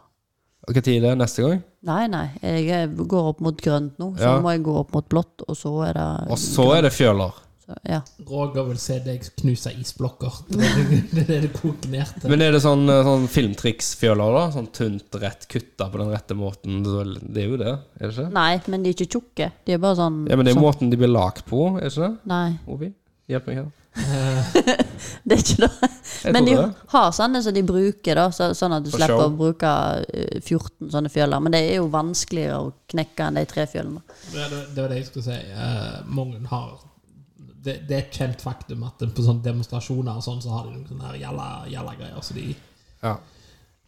Hva tid er det? Neste gang? Nei, nei, jeg er- går opp mot grønt nå. Så Ja. må jeg gå opp mot blått, og så er det Og så er det fjøler. så, ja. Roger vil se deg knuse isblokker. Det er det- *laughs* det er det det koker ned til. Men er det sånn, sånn filmtriksfjøler, da? Sånn tynt, rett, kutta på den rette måten? Det er jo det, er det ikke? Nei, men de er ikke tjukke. De er bare sånn Ja, men det er sånn. måten de blir lagd på, er det ikke det? Nei, Ovi? Hjelp meg her. det er ikke det. Jeg Men de tror det. har sånne som de bruker, da, så, sånn at du For slipper show. å bruke eh, 14 sånne fjøler. Men det er jo vanskeligere å knekke enn de tre fjølene. Ja, det, det var det jeg skulle si. Eh, mange har det, det er et kjent faktum at på sånne demonstrasjoner og sånn, så har de noen sånne her jalla, jalla greier. Så de, Ja.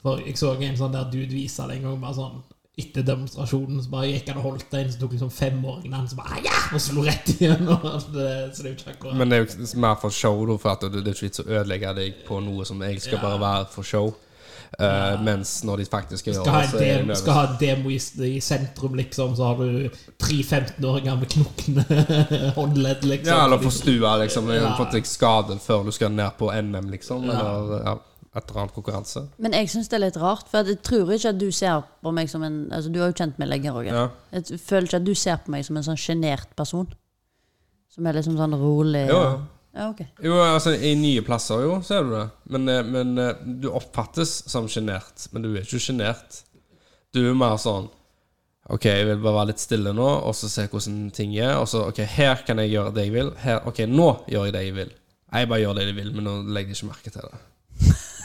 for jeg så en sånn der dude vise det en gang bare sånn etter demonstrasjonen så bare gikk han og holdt en, så tok liksom femåringen hans bare ja! og slo rett igjennom. Så det så det er jo ikke akkurat Men det er jo ikke- mer for show, da, for at det, det er ikke vits å ødelegge deg på noe som egentlig skal bare være for show. Eh, Mens når de faktisk skal, skal ha, gjøre det, en så er det demo, en skal øvelse. ha en demo i, i sentrum, liksom, så har du tre 15-åringer med knokne *laughs* håndledd, liksom. Ja, eller få stua, liksom. Ja. Fått deg skade før du skal ned på NM, liksom. Eller ja, et eller annet konkurranse. Men jeg syns det er litt rart, for jeg tror ikke at du ser på meg som en Altså, du har jo kjent meg lenge, Roger. Ja. Jeg føler ikke at du ser på meg som en sånn sjenert person. Som er liksom sånn rolig. Jo, og- jo. Ja, ok. Jo, altså, i nye plasser, jo, så er du det. Men, eh, men eh, du oppfattes som sjenert. Men du er ikke sjenert. Du er mer sånn OK, jeg vil bare være litt stille nå, og så se hvordan ting er. Og så OK, her kan jeg gjøre det jeg vil. Her, OK, nå gjør jeg det jeg vil. Jeg bare gjør det jeg vil, men nå legger jeg ikke merke til det.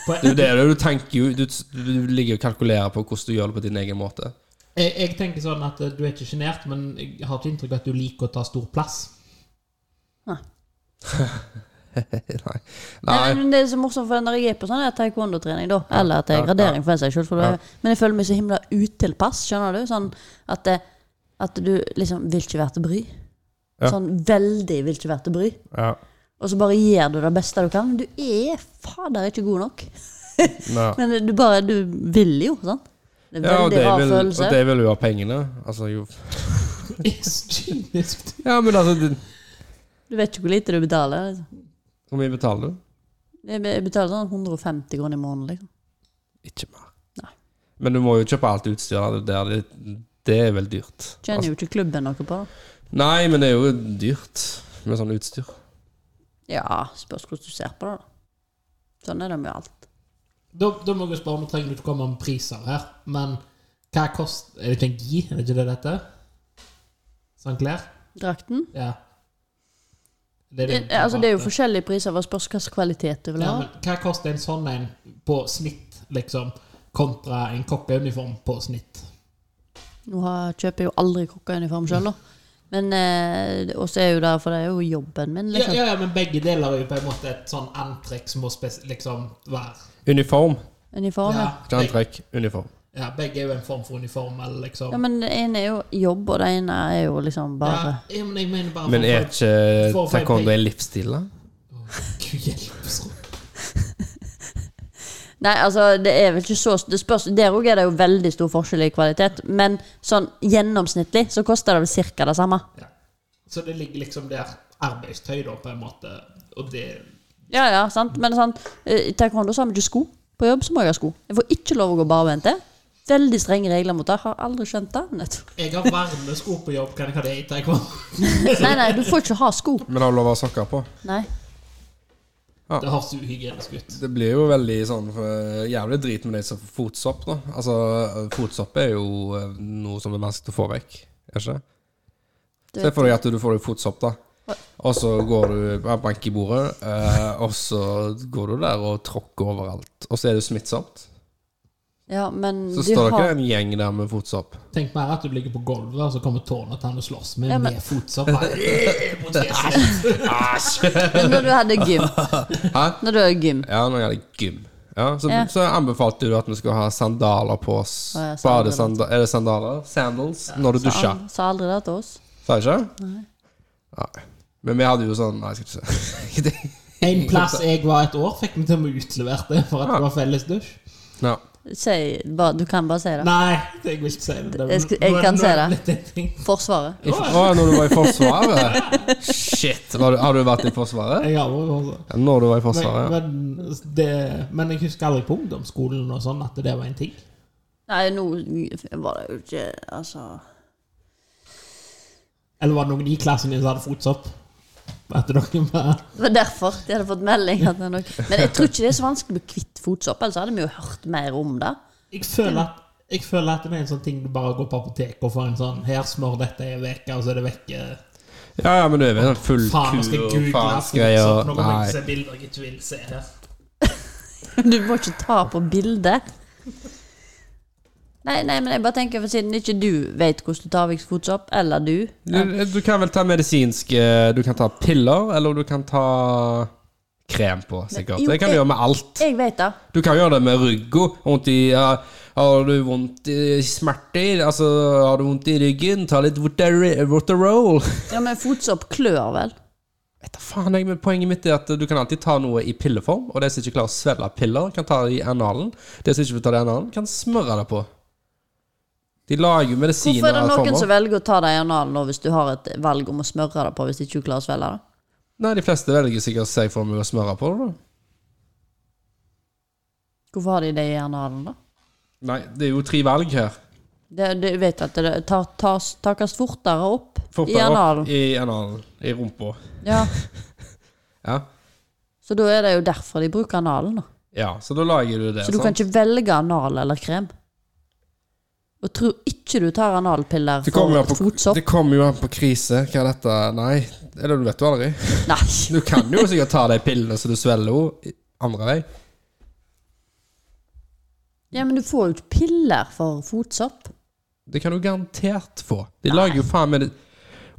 På- Det er jo det, du tenker jo Du, du ligger og kalkulerer på hvordan du gjør det på din egen måte. Jeg, jeg tenker sånn at eh, du er ikke sjenert, men jeg har ikke inntrykk av at du liker å ta stor plass. *laughs* *laughs* Nei. Nei, Nei. men Det er så morsomt, for når jeg er på sånn her taekwondo-trening, da, eller at det er ja, gradering for en seg selv, for Ja. det- men jeg føler meg så himla utilpass, skjønner du? Sånn at, det, at du liksom vil ikke være til bry. Ja. Sånn veldig vil ikke være til bry. Ja. Og så bare gjør du det beste du kan. Men du er fader ikke god nok. Nei. Men du bare Du vil jo, sant? Det er Ja, og veldig de rar vil, og følelse. de vil jo ha pengene. Altså, jo Kynisk. du. Ja, men altså det- Du vet ikke hvor lite du betaler. Liksom. Hvor mye betaler du? Jeg be- jeg betaler sånn 150 kroner i måneden, liksom. Ikke mer. Nei. Men du må jo kjøpe alt utstyret der. Det, det er vel dyrt. Altså- Tjener jo ikke klubben noe på det. Altså, nei, men det er jo dyrt. med sånn utstyr. Ja, spørs hvordan du ser på det, da. Sånn er det med alt. Da, da må jeg spørre, nå trenger du ikke komme med priser her, men hva kost... Er det ikke en gi? Er det ikke det dette? St. Clair? Drakten? Ja. Det Det, altså, det er eh, jo forskjellige priser, hva spørs hvilken kvalitet du vil ja, ha. men Hva koster en sånn en på snitt, liksom, kontra en kokkeuniform på snitt? Nå har, kjøper jeg jo aldri kokkeuniform sjøl, da. Men eh, også er jo det, for det er jo jobben min, Ja, liksom. ja, ja, men begge deler er jo på en måte et sånn antrekk som må spes liksom være Uniform. Uniform. ja, Ja. Ikke begge, antrekk, uniform. ja, begge er jo en form for uniform, eller liksom ja, men det ene er jo jobb, og det ene er jo liksom bare Ja, ja, men jeg mener bare Men for- er for- ikke Får feil taekwondo pay. en livsstil, da? Gud hjelpes Nei, altså, det er vel ikke så det spørs, Der òg er det jo veldig stor forskjell i kvalitet, men sånn gjennomsnittlig så koster det vel ca. det samme. ja. Så det ligger liksom der arbeidstøy, da, på en måte, og det Ja, ja, sant, men sant eh, I taekwondo så har vi ikke sko. På jobb så må jeg ha sko. Jeg får ikke lov å gå barbente. Veldig strenge regler mot det. Har aldri skjønt det. Nettopp. Jeg har varme sko på jobb, kan jeg ha det i taekwondo? *laughs* Nei, nei, du får ikke ha sko. Men har du lov å ha sokker på? Nei. Det høres uhygienisk ut. Det blir jo veldig sånn eh, jævlig drit med de som får fotsopp, da. Altså, eh, fotsopp er jo eh, noe som er vanskelig å få vekk, er ikke det? Se for deg at du får deg fotsopp, da. Og så går du ja, bank i bordet, eh, og så går du der og tråkker overalt. Og så er det smittsomt. Ja, men Så du står det har ikke en gjeng der med fotsopp. Tenk mer at du ligger på gulvet, og så kommer tårnet til han og slåss med Ja, men- med fotsopp. Øh, mot fjeset. Men når du hadde gym *laughs* Hæ? Når du hadde gym Ja, når jeg hadde gym. Ja, så, Ja. så anbefalte du at vi skulle ha sandaler på oss. Å ja, sandaler. Badesanda- Er det sandaler? Sandals? Når du sa, dusja. sa aldri det til oss. Sa jeg ikke? Nei. Men vi hadde jo sånn Nei, jeg skal ikke si *laughs* En plass jeg var et år, fikk vi til og med utlevert det for at det var felles dusj. ja. Si, bare, du kan bare si det. Nei, jeg vil ikke si det. det Jeg skal- jeg nå er- kan nå se er det. blitt en ting. Forsvaret. I, å, når du var i Forsvaret? Shit! Var du, har du vært i Forsvaret? Jeg har vært også. Ja, Når du var i Men, Forsvaret? men, det, men jeg husker aldri på ungdomsskolen og sånn at det var en ting. Nei, nå var det jo ikke Altså Eller var det noen i klassen din som hadde fotsopp? At dere bare Det var derfor de hadde fått melding. At det er nok. Men jeg tror ikke det er så vanskelig å bli kvitt fotsopp. Ellers hadde vi jo hørt mer om det. Jeg føler at jeg føler at det er en sånn ting du bare går på apoteket og får en sånn Her smør dette i en uke, og så er det vekke. Ja, ja, men du er vel en full Faen, jeg skal kur og google fotsopp. faensgreier. Nå kommer jeg til å Nei. se bilder jeg ikke vil se her. *laughs* Du må ikke ta på bildet. Nei, nei, men jeg bare tenker for siden ikke du vet hvordan du tar vekk fotsopp, eller du Du, du kan vel ta medisinske Du kan ta piller, eller du kan ta krem på, sikkert. jo, Det kan du jeg- gjøre med alt. Jeg vet det. Du kan gjøre det med rygga. Vondt i ja, Har du vondt i smerter? Altså, har du vondt i ryggen? Ta litt Rotary- Rotaroll. Ja, Men fotsopp klør vel? Vet da faen jeg, men Poenget mitt er at du kan alltid ta noe i pilleform. Og de som ikke klarer å svelge piller, kan ta det i analen. De som ikke vil ta det i analen, kan smøre det på. De lager jo Hvorfor medisiner er det av noen som former. velger å ta det i analen nå, hvis du har et valg om å smøre det på hvis ikke du klarer å svelge det? Nei, de fleste velger sikkert seg for meg å smøre på det. da. Hvorfor har de det i analen, da? Nei, det er jo tre valg her. Det, det, jeg vet at det ta- tas- takes fortere opp i Fortere opp analen. I analen. I rumpa. Ja. Ja. Så da er det jo derfor de bruker analen, da. ja, så da lager du det. Så du kan sant? ikke velge anal eller krem. Og tro ikke du tar analpiller Det for kommer, jo et an på, fotsopp. det kommer jo an på krise. Hva er dette Nei, eller du vet jo aldri. Nei. Du kan jo sikkert ta de pillene så du svelger henne i- andre vei. Ja, men du får jo ikke piller for fotsopp. Det kan du garantert få. De lager jo faen meg det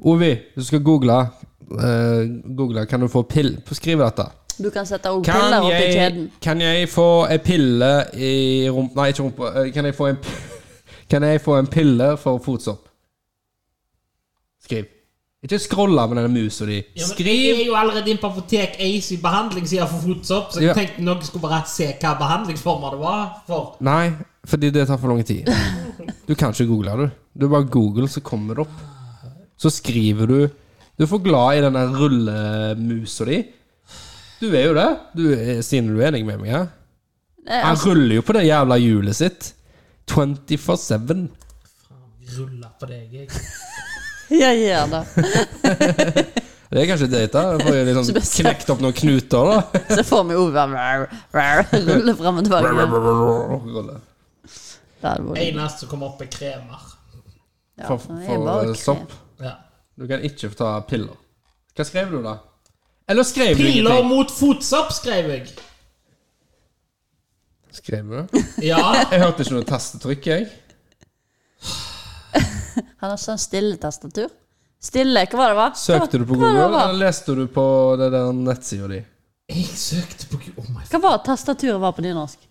Ovi, du skal google eh, Google, kan du få pill Skriv dette. Du kan sette også Kan piller oppi jeg, kjeden. kan jeg få ei pille i rumpa Nei, ikke rumpa. Eh, Kan jeg få en p- *laughs* Kan jeg få en pille for fotsopp? Skriv. Ikke scrolle med denne musa di. Ja, men Skriv! Jeg er jo allerede inne på apotek Ace i behandlingssida for fotsopp, så jeg Ja. tenkte noen skulle bare se hva behandlingsformer det var for. Nei, fordi det tar for lang tid. Du kan ikke google det. Du bare google, så kommer det opp. Så skriver du Du er for glad i den der rullemusa di. Du er jo det. Du, er- Stine, du er enig med meg her? Nei, Han altså, ruller jo på det jævla hjulet sitt. 24-7. Rulla på deg, jeg. jeg gjør det. Det er kanskje date, da. Får *laughs* jeg liksom knekt opp noen knuter, da. Så får vi Ove bare rulle fram og tilbake. med- Det hadde vært Eneste som kommer opp, er kremer. ja, For, det er for bare eh, krem. sopp. Ja. Du kan ikke få ta piller. Hva skrev du, da? Eller skrev du Piller ingenting? mot fotsopp, skrev jeg. Skrev du? Ja. Jeg hørte ikke noe tastetrykk, jeg. Han har sånn stille tastatur. Stille, hva var det? Hva? Søkte du på Hva var det Google, det var? eller leste du på det der nettsida di? Jeg søkte på Gud- Oh my Hva var tastaturet var på nynorsk?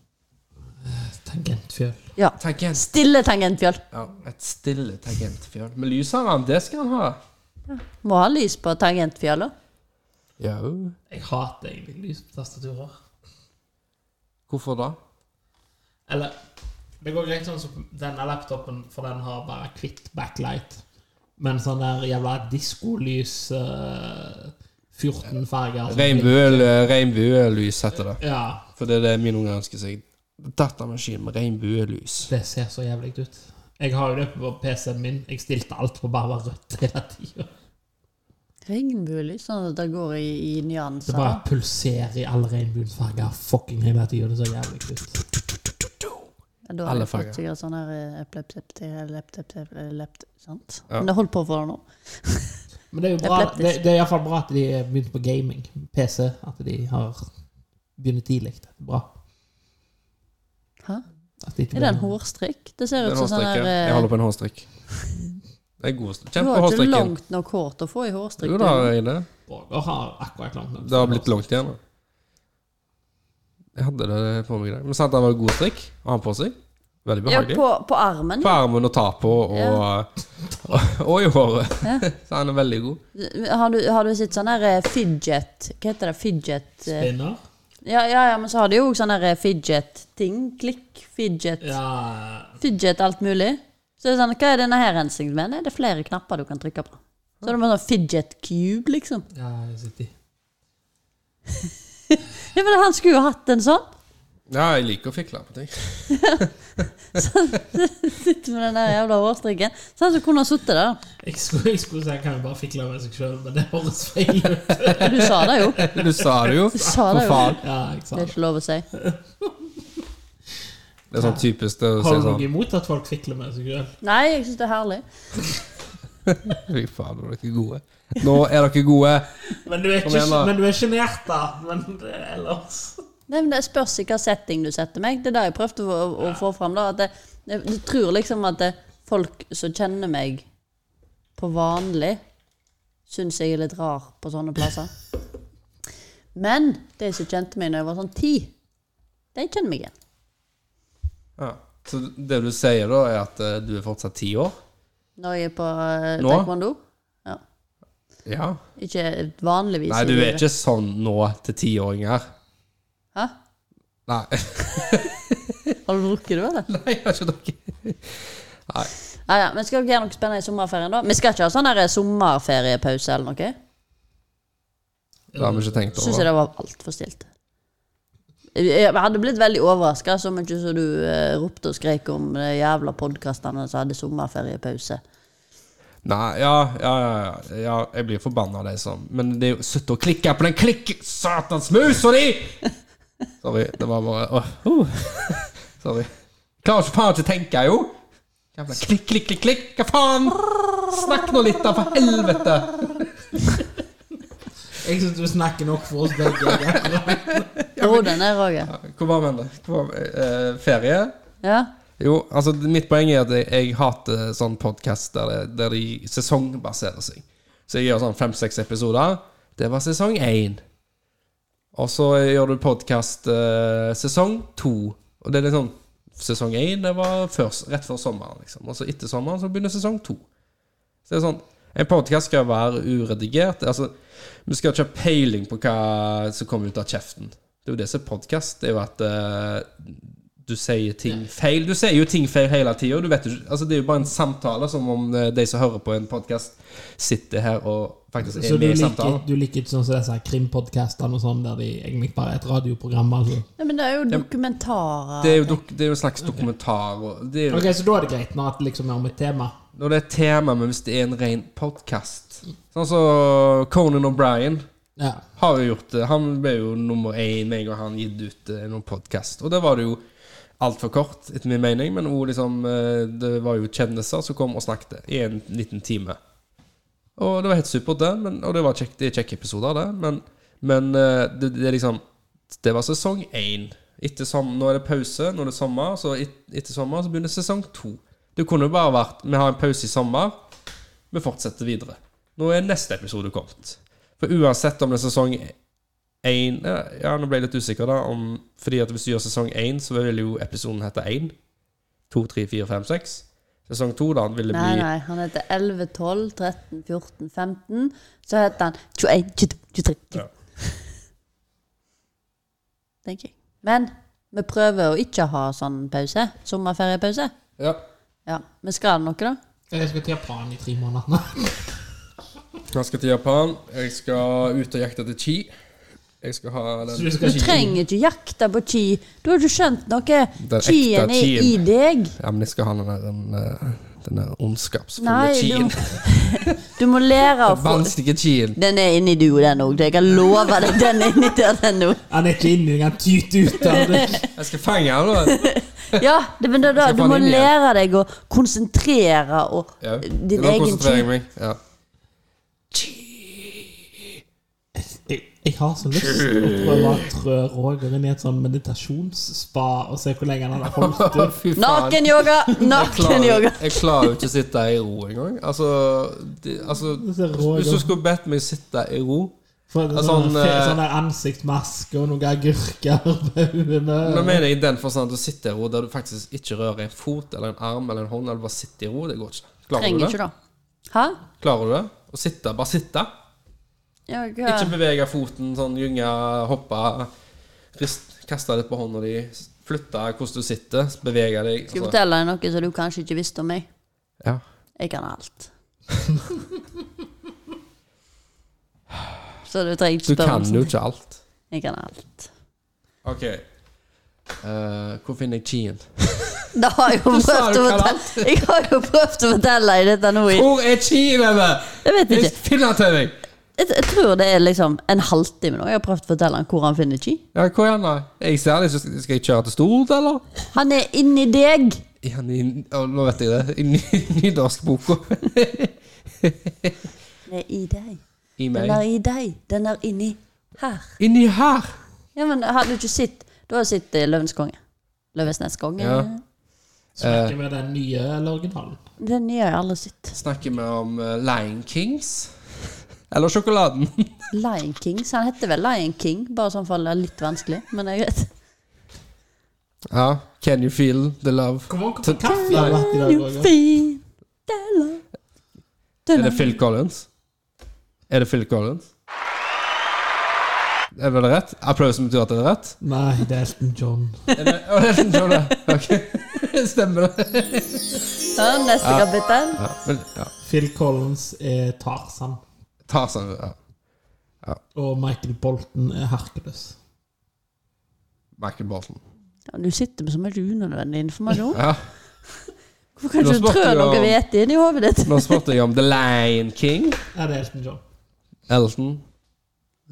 Tangentfjøl. Ja. Tangent. Stille tangentfjøl. Ja, et stille tangentfjøl. Men lyset har han, det skal han ha. Må ha lys på tangentfjøla. Ja. Jeg hater egentlig lys på tastaturer. Hvorfor da? Eller Det går greit sånn som denne laptopen, for den har bare kvitt backlight. Men sånn der jævla diskolys eh, 14 farger som- Regnbue- Regnbuelys heter det. Ja. For det er det mine unger ønsker seg. Datamaskin med regnbuelys. Det ser så jævlig ut. Jeg har jo det på PC-en min. Jeg stilte alt på bare rødt hele tida. Regnbuelys, sånn at det går i, i nyanser. Det bare pulserer i alle regnbuens farger fucking hele tida. Det ser jævlig ut. Ja, da har Alle jeg fått farger. Sikkert sånn her eh, epilepti- epilepti- epilepti- sant? Ja. Men det holdt på å få det nå. Men det er jo bra Epileptisk. Det, det er iallfall bra at de har begynt på gaming. PC. At de har begynner tidlig. Det er bra. Hæ? At de ikke Er det en begynner- hårstrikk? Det ser Det er ut en som sånn her hårstrikk, ja. eh, Jeg holder på en hårstrikk. Det er god Du Kjenn på har ikke hårstrikken. langt nok hår til å få i hårstrikk. Jo da, du. Reine. Borger har akkurat langt nok. Det har blitt langt igjen. da. Jeg hadde det på meg i dag. Men sant, det var god strikk å ha på seg. Veldig ja, behagelig. på, på armen. På armen å ta på, og, Mm. Ja. og, *laughs* og i håret. Så han er veldig god. Har du, har du sett sånn her eh, fidget Hva heter det? Fidget eh, Spinner? Ja, ja, ja men så har de jo sånn her eh, fidget-ting. Klikk, fidget. Ja Fidget alt mulig. Så det er sånn, Hva er denne her hensikten med? Nei, det er flere knapper du kan trykke på. Så er det bare sånn fidget cube, liksom. Ja, jeg sitter i. Ja, men Han skulle jo hatt en sånn. *laughs* Ja, jeg liker å fikle på ting. Sitter med den der jævla hårstrikken. Sånn så kunne han sittet der. Jeg skulle, jeg skulle si jeg kan jo bare fikle med seg sjøl, men det høres feil ut. Ja, Du sa det jo. Du sa det jo. Du sa For det jo. faen. Ja, jeg sa Det er det. ikke lov å si. Det er sånn typisk det å si Har du noe sånn imot at folk fikler med seg sjøl? Nei, jeg syns det er herlig. Fy faen, nå er dere gode. Nå er dere gode. Men du er Kom igjen, ikke- da. men du er sjenert, da. Men det, ellers Nei, men Det spørs i hva setting du setter meg. Det er det jeg prøvde å, å få fram. da, at jeg, jeg, jeg tror liksom at det, folk som kjenner meg på vanlig, syns jeg er litt rar på sånne plasser. Men de som kjente meg da jeg var sånn ti, de kjenner meg igjen. Ja. Så det du sier da, er at eh, du er fortsatt ti år? Når jeg er på eh, Nå? taekwondo. Ja. Ja. Ikke vanligvis. Nei, i du er livet. ikke sånn nå til tiåringer. Hæ? Nei. *laughs* Har du drukket det, eller? Nei, jeg har ikke drukket. Ja, ja, men Skal dere gjøre noe spennende i sommerferien, da? Vi skal ikke ha sånn der sommerferiepause eller noe? Det har vi ikke tenkt Syns jeg over. det var altfor stilt. Jeg hadde blitt veldig overraska så mye som du eh, ropte og skrek om de jævla podkastene som hadde sommerferiepause. Nei, ja, ja, ja, ja, ja. Jeg blir forbanna av deg sånn. Men det er jo Slutt å klikke på den klikk... Satans musa di! Sorry. Det var bare åh, uh. Sorry. Klarer ikke faen ikke å tenke, jo. Jævla klikk, klikk, klikk, klikk. Hva faen? Snakk nå litt, da, for helvete. Jeg syns du snakker nok for oss *laughs* begge. Dro den ned, Roger. Hvor var vi hen, da? Hvor var vi? Eh, ferie? Ja. Jo, altså mitt poeng er at jeg, jeg hater sånn podkast der, det- der de sesongbaserer seg. Så jeg gjør sånn fem-seks episoder. Det var sesong én. Og så gjør du podkast eh, sesong to. Og det er litt sånn Sesong én det var før, rett før sommeren, liksom. Og så etter sommeren så begynner sesong to. Så det er sånn En podkast skal være uredigert. Altså, vi skal ikke ha peiling på hva som kommer ut av kjeften. Det er jo det som er podkast. Det er jo at eh, du sier ting feil. Du sier jo ting feil hele tida. Altså, det er jo bare en samtale, som om eh, de som hører på en podkast, sitter her og faktisk Så er du med i liker, samtalen. du liker ikke sånn som disse krimpodkastene og sånn, der de egentlig bare er et radioprogram? Altså. ja. Men det er jo dokumentarer. Det er jo, dok det er jo en slags dokumentar. Og det er jo, Ok, Så da er det greit, når at liksom er om et tema? Når det er et tema, men hvis det er en ren podkast Sånn som Conan O'Brien Ja. har jo gjort det. Han ble jo nummer én med en gang han gitt ut eh, noen podkast. Og det var det jo altfor kort, etter min mening, men også liksom, eh, det var jo kjendiser som kom og snakket i en liten time. Og det var helt supert, det. Men, og det var kjekk, det er kjekke episoder, det. Men, men eh, det, det er liksom Det var sesong én. Etter som, nå er det pause, nå er det sommer, så et, etter sommer så begynner sesong to. Det kunne jo bare vært Vi har en pause i sommer. Vi fortsetter videre. Nå er neste episode kommet. For uansett om det er sesong 1 Ja, nå ble jeg litt usikker, da. Om, fordi at hvis du gjør sesong 1, så vil jo episoden hete 1. 2, 3, 4, 5, 6. Sesong 2, da, vil det Nei, bli nei. Han heter 11, 12, 13, 14, 15. Så heter han 21, 22, 23. Ja. Tenker jeg. Men vi prøver å ikke ha sånn pause. Sommerferiepause. Ja. Ja. Vi skal noe, da. Jeg skal til Japan i tre *laughs* måneder. Jeg skal til Japan. Jeg skal ut og jakte etter chi. Jeg skal ha den skal Du trenger ikke jakte på chi. Du har ikke skjønt noe. Den ekte Chien er i chien. deg. Ja, men jeg skal ha den der, den, eh, den der ondskapsfulle Nei, chien. *laughs* du, du må *laughs* lære å Den få vanskelige chien. Den er inni du, den òg. Jeg kan love deg, den er inni der, den òg. Han er ikke inni, han tyter ut av det. Jeg skal fange *laughs* den. da. Ja, det, men det, er da, Skal du få må den inn igjen. lære deg å konsentrere og Ja. din Nå egen konsentrerer jeg tid. meg. Ja. Jeg, jeg har så lyst til å prøve å trø Roger inn i et sånn meditasjonsspa og se hvor lenge han hadde *laughs* holdt ut. Fy faen. Nakenyoga! *laughs* Nakenyoga! Jeg klarer jo ikke å sitte i ro engang. Altså, det, altså Det ser rå Hvis ut. du skulle bedt meg sitte i ro For det er *laughs* Sånn, sånn, fe- eh, sånn der ansiktmaske og noen agurker *laughs* på Nå øynene. mener jeg i den forstand at du sitter i ro der du faktisk ikke rører en fot eller en arm eller en hånd. Eller bare sitter i ro. Det går ikke. Klarer du Trenger det? ikke, da. Hæ? Klarer du det? Å sitte, bare sitte. Ja, hva? Ikke bevege foten, sånn gynge, hoppe, rist, kaste litt på hånda di, flytte hvordan du sitter, bevege Skal deg. jeg Altså. fortelle deg noe som du kanskje ikke visste om meg? Ja. Jeg kan alt. Så du trenger Du ikke spørre kan om jo sånt. ikke alt. Jeg kan alt. OK. Eh, hvor finner jeg chien? Det har jeg jo Du sa prøvd du å kan fortelle *laughs* Jeg har jo prøvd å fortelle deg dette nå i Hvor er chien henne? Jeg vet ikke. Finn den til meg! Jeg, jeg tror det er liksom en halvtime nå. Jeg har prøvd å fortelle han hvor han finner chi. Ja, hvor er han da? Jeg ser det, ikke. skal jeg kjøre til Stord, eller? Han er inni deg! Er han i, å, nå vet jeg det, i ny- *laughs* nynorskboka. Den er i deg. I Den meg. er i deg. Den er inni her. Inni her! Ja, men har du ikke sett Du har sett eh, Løvens konge. Løvesnes konge. Ja. Snakker med den nye eller originalen. Den nye har jeg aldri sett. Snakker vi om eh, Lion Kings? Eller sjokoladen? Lion King. Så han heter vel Lion King, bare sånn for det er litt vanskelig. Men jeg vet. Ja. Can you feel the love? Hvor mange kopper kaffe har du hatt i dag, Roger? Fin, dela. Er det Phil Collins? Er det Phil Collins? Er det rett? Applausen betyr at det er rett? Nei, det er Elton John. Er det, å, det er Elton John, det. Ok. Stemmer det? Ja, neste kapittel. Ja, men, ja. Phil Collins er Tarzan. Tarzan. Ja. Og Michael Bolton er Hercules. Michael Bolton. Ja, du sitter med så mye unødvendig informasjon. Ja. Hvorfor kan Nå ikke du spurte trø jeg noe om- vett inn i hodet ditt? Nå spurte jeg om The Lion King. Ja, det er Elton John. Elton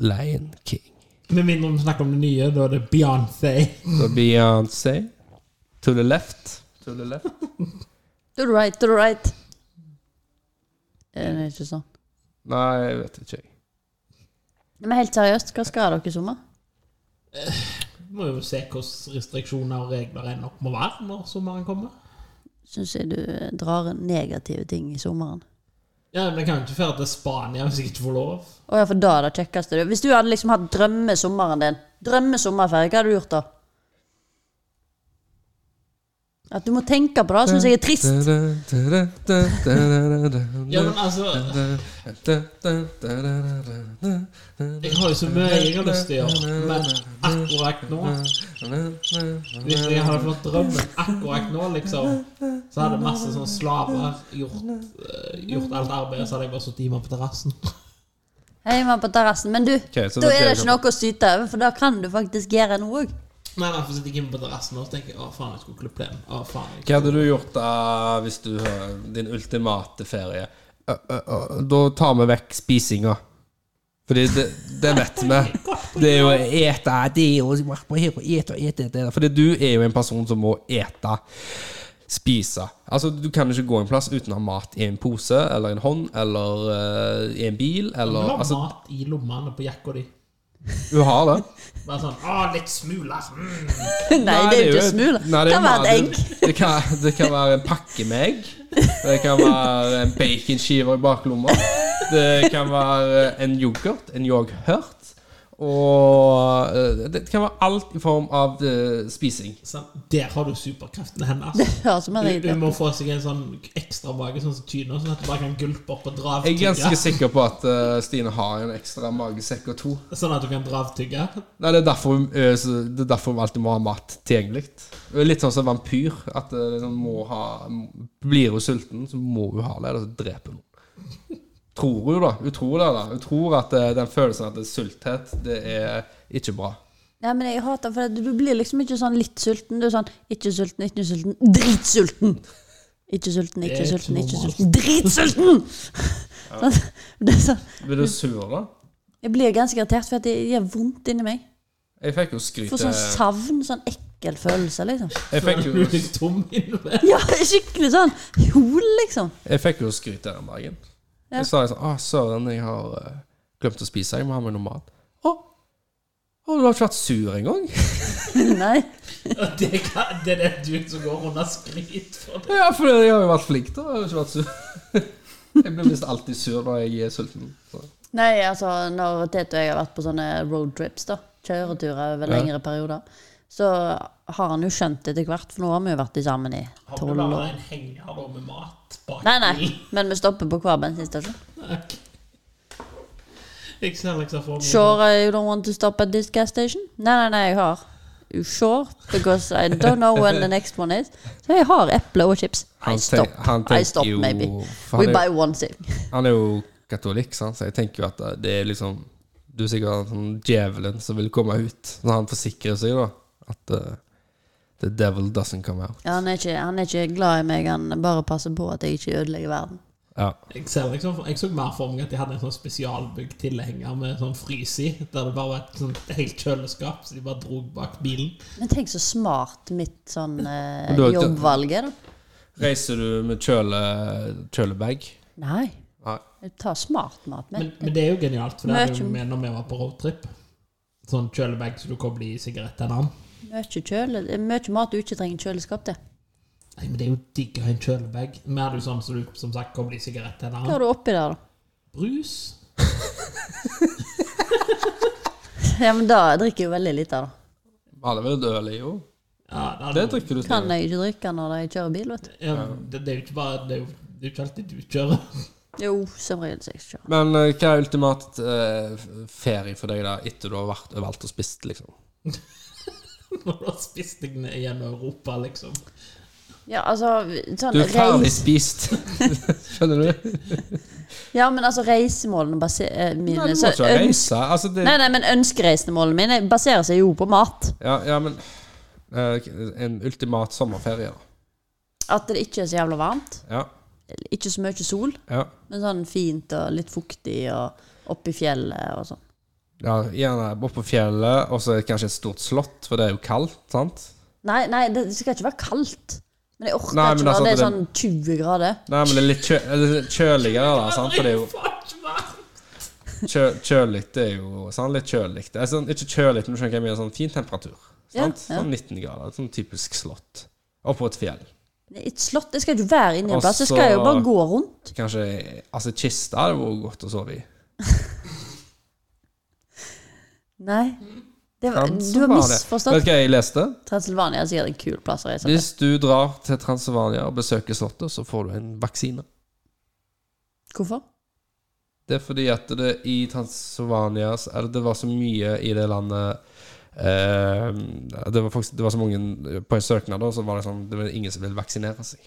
Lion King. Med mindre vi snakker om det nye, da er det Beyoncé. Så Beyoncé To the left. To the left. To the right, to the right. Er det ikke sånn? Nei, jeg vet ikke. jeg. Men helt seriøst, hva skal dere i sommer? Må jo se hvordan restriksjoner og regler ender opp med å være når sommeren kommer. Syns jeg du drar inn negative ting i sommeren. Ja, men Jeg kan jo ikke føre til Spania hvis jeg ikke får lov. Å ja, for da er det kjekkeste du Hvis du hadde liksom hatt drømmesommeren din, drømmesommerferie, hva hadde du gjort da? At du må tenke på det, syns jeg er Eh, trist. Ja, men altså, Jeg har jo så mye jeg har lyst til å gjøre, men akkurat nå Hvis jeg hadde fått drømmen akkurat nå, liksom, så hadde masse sånne slaver gjort, eh, gjort alt arbeidet, så hadde jeg bare sittet hjemme på terrassen. Hei, mann på terrassen. Men du, da så er det er det det ikke noe å syte over, for da kan du faktisk gjøre noe òg. Nei, nei, for sitter jeg inne på terrassen og tenker jeg, Å, faen, jeg skulle klippe den. Å, faen. Jeg. Hva hadde du gjort da hvis du har din ultimate ferie? Ø, ø, ø, Da tar vi vekk spisinga. Fordi det, det vet vi. Det er jo å ete det og vært på her og ete og ete, ete. Fordi du er jo en person som må ete. Spise. Altså, du kan ikke gå en plass uten å ha mat i en pose eller en hånd eller ø, i en bil Du eller har Altså, mat i lommene på jakka di. du har det. Bare sånn Å, litt smuler. Mm. *laughs* Nei, det er jo ikke smul. Nei, Det kan er jo være et egg. *laughs* mat. Det kan, det kan være en pakke med egg. Det kan være en baconskive i baklomma. Det kan være eh, en yoghurt, en yoghurt. Og eh, det kan være alt i form av eh, spising. Sånn, Der har du superkraften hennes. Høres som en Du, du regel. må få seg en sånn ekstra mage, sånn som Tyne, sånn at du bare kan gulpe opp og dra av Jeg er ganske tygge. sikker på at eh, Stine har en ekstra magesekk og to. Sånn at du kan dra av tygge. *laughs* Nei, det er derfor hun eh, så- det er derfor hun alltid må ha mat tilgjengelig. Hun er Litt sånn som vampyr. At eh, liksom, må ha, Blir hun sulten, så må hun ha det, eller så dreper hun noen. Tror hun, da. Hun tror det, da. Hun tror at eh, den følelsen at det er sulthet, det er ikke bra. Nei, men jeg hater for at du blir liksom ikke sånn litt sulten. Du er sånn ikke sulten, ikke sulten, dritsulten! Ikke sulten, Det er ikke ikke sulten, ikke normalt. sulten. Dritsulten! *laughs* Sånn, det er sånn. Blir du sur, da? Jeg blir ganske irritert, for at det gjør vondt inni meg. Jeg fikk jo Får skryt eh, sånn savn, sånn ekkel følelse, liksom. Jeg fikk Du jo, *laughs* er litt tom inne. Ja, skikkelig sånn hol, liksom. jeg fikk jo skryt den dagen. Ja. Jeg sa sånn Å, søren, jeg har eh, glemt å spise. Jeg må ha meg noe mat. Å, å, du har ikke vært sur engang? Nei. Og Det, kan- det er det du som går under skryt for det. Ja, for jeg har jo vært flink, da. Jeg har ikke vært sur. *laughs* Jeg blir visst alltid sur når jeg er sulten. Så. Nei, altså, når Tete og jeg har vært på sånne roadtrips, da, kjøreturer over Ja. lengre perioder, så har han jo skjønt etter hvert, for nå har vi jo vært i sammen i Har du tolv bare år. en henger da med mat bak Nei, nei, bilen? men vi stopper på hver bensinstasjon. Ok. Jeg ser liksom for meg Sure uh, you don't want to stop at this gas station? Nei, nei, nei, jeg har. You sure? Because I don't know when the next one is. Så jeg har eple og chips. I Han stop. tenk- han I tenker stop, jo- maybe. for We han er- buy one thing. Han er jo katolikk, sant? så jeg tenker jo at det er liksom Du er sikkert sånn djevelen som vil komme ut, når han forsikrer seg, da. At eh, the devil doesn't come out. Ja, han, er ikke, han er ikke glad i meg, han bare passer på at jeg ikke ødelegger verden. Ja. Jeg, ser liksom, for- jeg så mer for meg at de hadde en sånn spesialbygd tilhenger med sånn frys i, der det bare var et sånt helt kjøleskap, så de bare drog bak bilen. Men tenk så smart mitt sånn eh, Men du har ikke- jobbvalg er, da. Reiser du med kjøle, kjølebag? Nei, Nei. jeg tar smart mat med. Men, men det er jo genialt, for det Mye hadde vi med når vi var på roadtrip. Sånn kjølebag så du kobler i sigarettene. Mye kjøle, det er mye mat du ikke trenger kjøleskap til. Nei, men det er jo digg å ha en kjølebag. Vi hadde jo sånn som du som sagt kobler i Hva sigarettene. har du oppi der, da? *laughs* Brus. Ja, men da drikker jeg jo veldig lite, da. Alle vil dø, jo. Ja, det, Det hadde, drikker du Kan til. jeg ikke drikke når jeg kjører bil, vet du. ja, det, det er jo ikke bare Det er jo, det er jo ikke alltid du kjører. *laughs* Jo, som regel så jeg kjører. Men eh, hva er ultimat eh, ferie for deg, da, etter du har vært overalt og spist, liksom? Når du har spist deg ned gjennom Europa, liksom. Ja, altså, sånn Du er ferdig reis... *laughs* spist. Skjønner du? Ja, men altså, reisemålene base- eh, mine Nei, du må så ikke øns- reise. Altså, det, Nei, nei, men ønskereisemålene mine baserer seg jo på mat. ja, ja, men eh, En ultimat sommerferie, da. At det ikke er så jævla varmt. Ja. Ikke så mye sol, ja. men sånn fint og litt fuktig og oppi fjellet og sånn. ja gjerne opp på fjellet, og så kanskje et stort slott, for det er jo kaldt, sant? Nei, nei, det det skal ikke være kaldt. Men jeg orker Nei, men ikke når altså det er at sånn 20 grader. Nei, men det er litt, kjø eller litt kjøligere, da. Sant? For det er jo kjø kjølig, det er jo sant? litt kjølig. Det er sånn, ikke kjølig, men du skjønner hva jeg mener. Sånn fin temperatur. Ja, Sant? ja. Sånn 19 grader. Sånn typisk slott. Oppå et fjell. Det er Et slott Jeg skal ikke være inni en Og plass. Jeg så- skal jo bare gå rundt. Kanskje Altså, kiste hadde vært godt å sove i. Nei. Det var, Ja, du så har var det. misforstått. Vet du hva jeg leste? Transylvania er sikkert en kul plass å reise til. Hvis du drar til Transylvania og besøker Slottet, så får du en vaksine. Hvorfor? Det er fordi at det i Transylvania så er det, det var så mye i det landet eh, det, var faktisk, det var så mange På en søknad da, så var det sånn Det var ingen som ville vaksinere seg.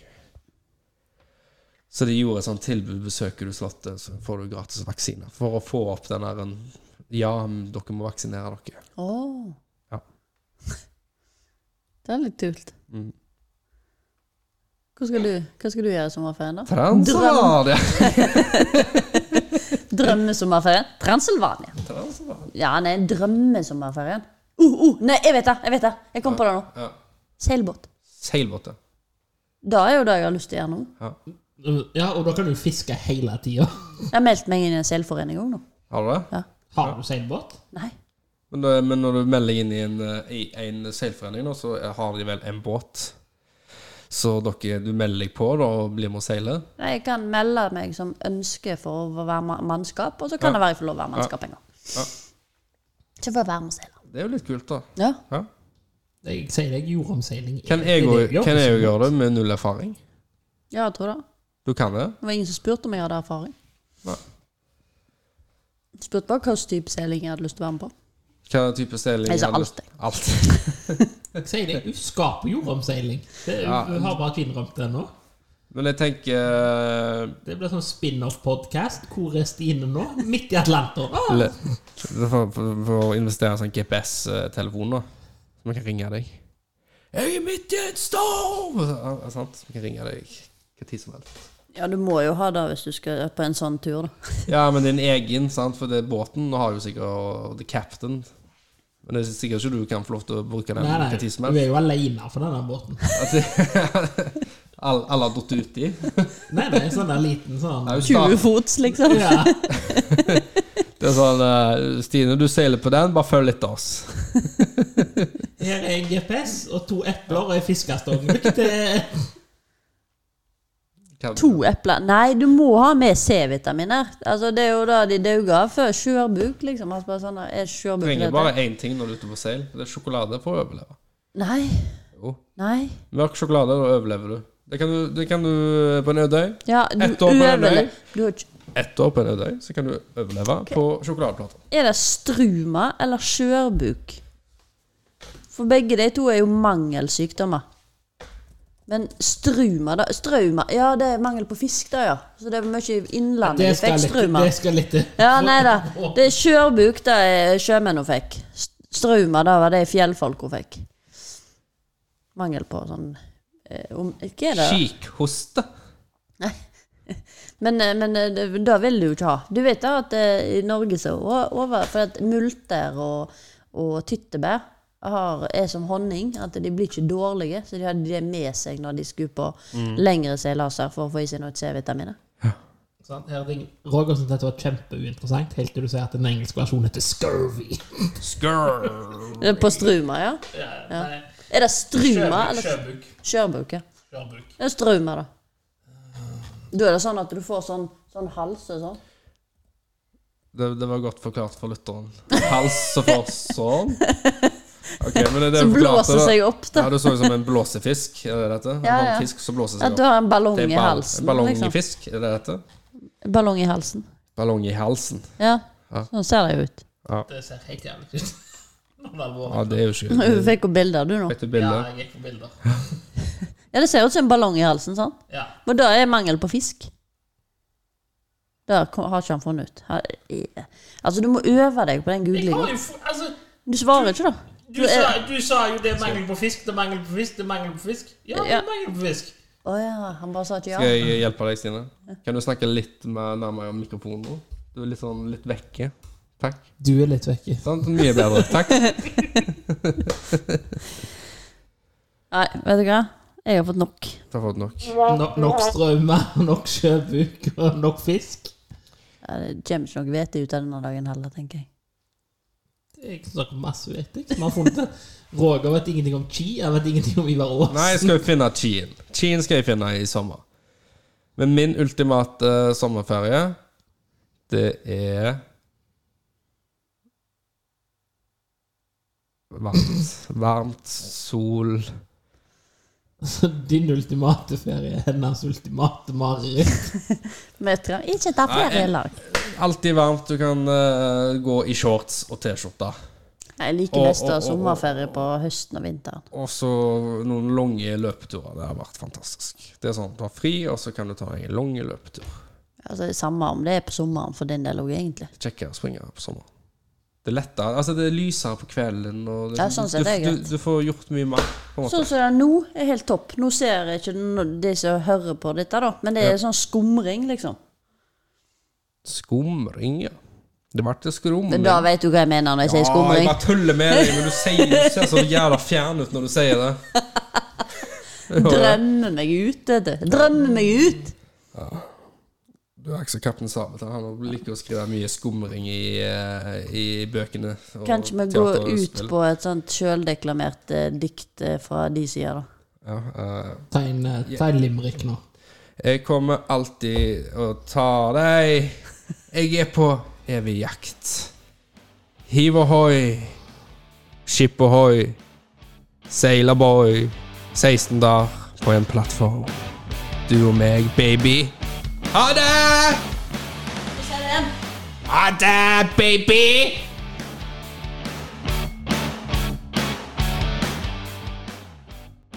Så de gjorde et sånt tilbud. Besøker du Slottet, så får du gratis vaksine. For å få opp den der en, Ja, men dere må vaksinere dere. Åh Ja. *laughs* Det er litt kult. Mm. Hva skal du, hva skal du gjøre i sommerferien, da? Transylvania. Drømmesommerferien? Transylvania. Transylvania. Ja, nei, drømmesommerferien. Uh, uh, nei, jeg vet det! Jeg vet det. Jeg kom på det nå. Ja. Seilbåt. Seilbåt, ja. Det er jo det jeg har lyst til å gjøre nå. Ja, og da kan du fiske hele tida. Jeg har meldt meg inn i en seilforening òg nå. Har du det? Har du seilbåt? Nei. Men, da- men når du melder inn i en, eh, i en seilforening, nå, så har de vel en båt. Så dere, du melder deg på da, og blir med å seile? nei. Jeg kan melde meg som ønske for å være ma- mannskap, og så kan Ja. det være jeg får lov å være mannskap en gang. Ja. Så får jeg være med og seile. Det er jo litt kult, da. Ja. Ja. Jeg sier deg jordomseiling. Kan Det jeg er det òg gjør. kan jeg jo gjøre det med null erfaring? ja, jeg tror det. Du kan det? Det var ingen som spurte om jeg hadde erfaring. Nei. Spurte bare hva slags type seiling jeg hadde lyst til å være med på. Hva type seiling? Jeg sa har du lyst- alt. Jeg sier deg, du skaper jordomseiling. Det, Ja. Du har bare kvinnerømt det nå. Men jeg eh, tenker Det blir sånn spin-off-podkast. Hvor er Stine nå? Midt i Atlanteren. Ah, Eller, for, for, for å investere i en sånn GPS-telefon, da. Så man kan ringe deg. 'Jeg er midt i en storm!' Ja, ja, sant? Så man kan ringe deg hva tid som helst. Ja, du må jo ha det hvis du skal på en sånn tur, da. *laughs* Ja, men din egen, sant? for det er båten nå har jo sikkert The Captain. Men det er sikkert ikke du kan få lov til å bruke den Nei, nei. hva tid som Du helst. er jo aleine for denne båten. At- *laughs* Alle alle har datt uti. Nei, nei, sånn der liten sånn. Det er 20 jo start- fots, liksom. Ja. Det er sånn eh, 'Stine, du seiler på den, bare følg etter oss'. Her er en GPS og to epler og ei fiskestang. *laughs* Det Kan- To epler Nei, du må ha med C-vitaminer. Altså, det er jo da de dauger av før skjørbuk, liksom. Altså, bare sånn, der, er Du skjørbuk trenger det bare det? én ting når du er ute på seil. Det er sjokolade for å overleve. Nei. Jo. Nei. Mørk sjokolade, da overlever du. Det kan du, det kan du eh, på en øde øy. Ja, du Ett år på den øver øya. det. Du har ikke Ett år på en øde øy, så kan du overleve på sjokoladeplater. Er det struma eller skjørbuk? For begge de to er jo mangelsykdommer. Men struma, da Strauma Ja, det er mangel på fisk, da, ja. Så det er mye innlandet de skal fikk litt, struma. det skal litt Ja, nei da. Det er skjørbuk det er sjømenn hun fikk. St- Strauma, det var det fjellfolk hun fikk. Mangel på sånn eh, om, Hva er det? Kikhoste. Men, eh, men eh, det, det vil du jo ikke ha. Du vet da at eh, i Norge så o- over For at multer og, og tyttebær har, er som honning. At de blir ikke dårlige. Så de hadde det med seg når de skulle på Mm. lengre seilaser for å få i seg noe C-vitaminer. sånn, her er ting. Roger syntes dette var kjempeuinteressant, helt til du sier at den engelske versjonen heter scurvy. Skrrr. Eh, På struma, ja? Nei, Er det struma skjørbuk, eller skjørbuk, skjørbuk? Ja. skjørbuk. Det er straumer, da. Da er det sånn at du får sånn, sånn hals og sånn. Det, det var godt forklart for lytteren. Hals og for sånn. Ok, men det er det Som jeg forklarte, blåser da. seg opp, da. Ja, du så ut som en blåsefisk. Er det dette? En Ja, ja. sånn fisk som blåser At seg du opp. har en ballong Det er i ball- halsen. Ballong i Liksom. fisk, er det dette? Ballong i halsen. Ballong i halsen. Ja, Ja. sånn ser det jo ut. Det ser helt jævlig ut. *laughs* Nå er det alvorlig. Ja, det er *laughs* jo ikke Du fikk jo bilder, du, nå. Fikk du Ja, bilde? jeg gikk på bilder. Ja, det ser ut som en ballong i halsen, sånn. Ja. Og da er mangel på fisk. Det har ikke han funnet ut. Han- eh, Altså, du må øve deg på den Jeg har googlingen. jo, f- altså, Du svarer ikke, da. du, sa, du sa jo det er mangel på fisk, det er mangel på fisk, det er mangel på fisk. Ja, det Ja. er mangel på fisk. Å ja, han bare sa ikke ja. Skal jeg hjelpe deg, Stine? Kan du snakke litt mer nærmere om mikrofonen nå? Du er litt sånn litt vekke. Takk. Du er litt vekke. Sant? Mye bedre. Takk. Nei, vet du hva? Jeg har fått nok. Da får du nok. No, nok strømme, *laughs* nok sjøbuk og nok fisk. Ja, Det kommer ikke noe hvete ut av denne dagen heller, tenker jeg. Jeg snakker masse vet jeg, som har funnet det. Roger vet ingenting om chi, jeg vet ingenting om Ivar Aas. Nei, jeg skal jo finne Chien. Chien skal jeg finne i sommer. Men min ultimate eh, sommerferie, det er Varmt. Varmt, sol *laughs* Så din ultimate ferie er hennes ultimate mareritt. Møter han ikke ta Nei, jeg- ferielag. Alltid varmt. Du kan eh, gå i shorts og T-skjorte. Jeg liker Og- best å ha og- og- sommerferie på høsten og vinteren. Og så noen lange løpeturer. Det har vært fantastisk. Det er sånn, Du har fri, og så kan du ta deg en lang løpetur. Altså, det er Samme om det er på sommeren for din del òg, egentlig. Kjekkere å springe på sommeren. Det er lettere. Altså, det er lysere på kvelden, og det, Ja, sånn sett du, er det greit. du, du får gjort mye mer, på en måte. Sånn som det er nå, er helt topp. Nå ser jeg ikke no- de som hører på dette, da. Men det er sånn skumring, liksom. Skumring, ja. Det ble til skumring. Men da vet du hva jeg mener når jeg sier Mm. Ja, jeg skumring. bare tuller med deg, men du, sier, du ser så jævla fjern ut når du sier det. *laughs* Drømmer meg ut, vet du. Drømmer meg ut! Du er ikke som Kaptein Sabeltann. Han liker å skrive mye skumring i, eh, i bøkene. og Kanskje vi går teater og ut spill. på et sånt sjøldeklamert eh, dikt eh, fra de sida, da. ja, eh, Ta en, eh, ta en limerick nå. Jeg kommer alltid å ta deg. Jeg er på evig jakt. Hiv ohoi, skip ohoi, sailorboy, 16 dager på en plattform. Du og meg, baby. Ha det! Ha det, baby!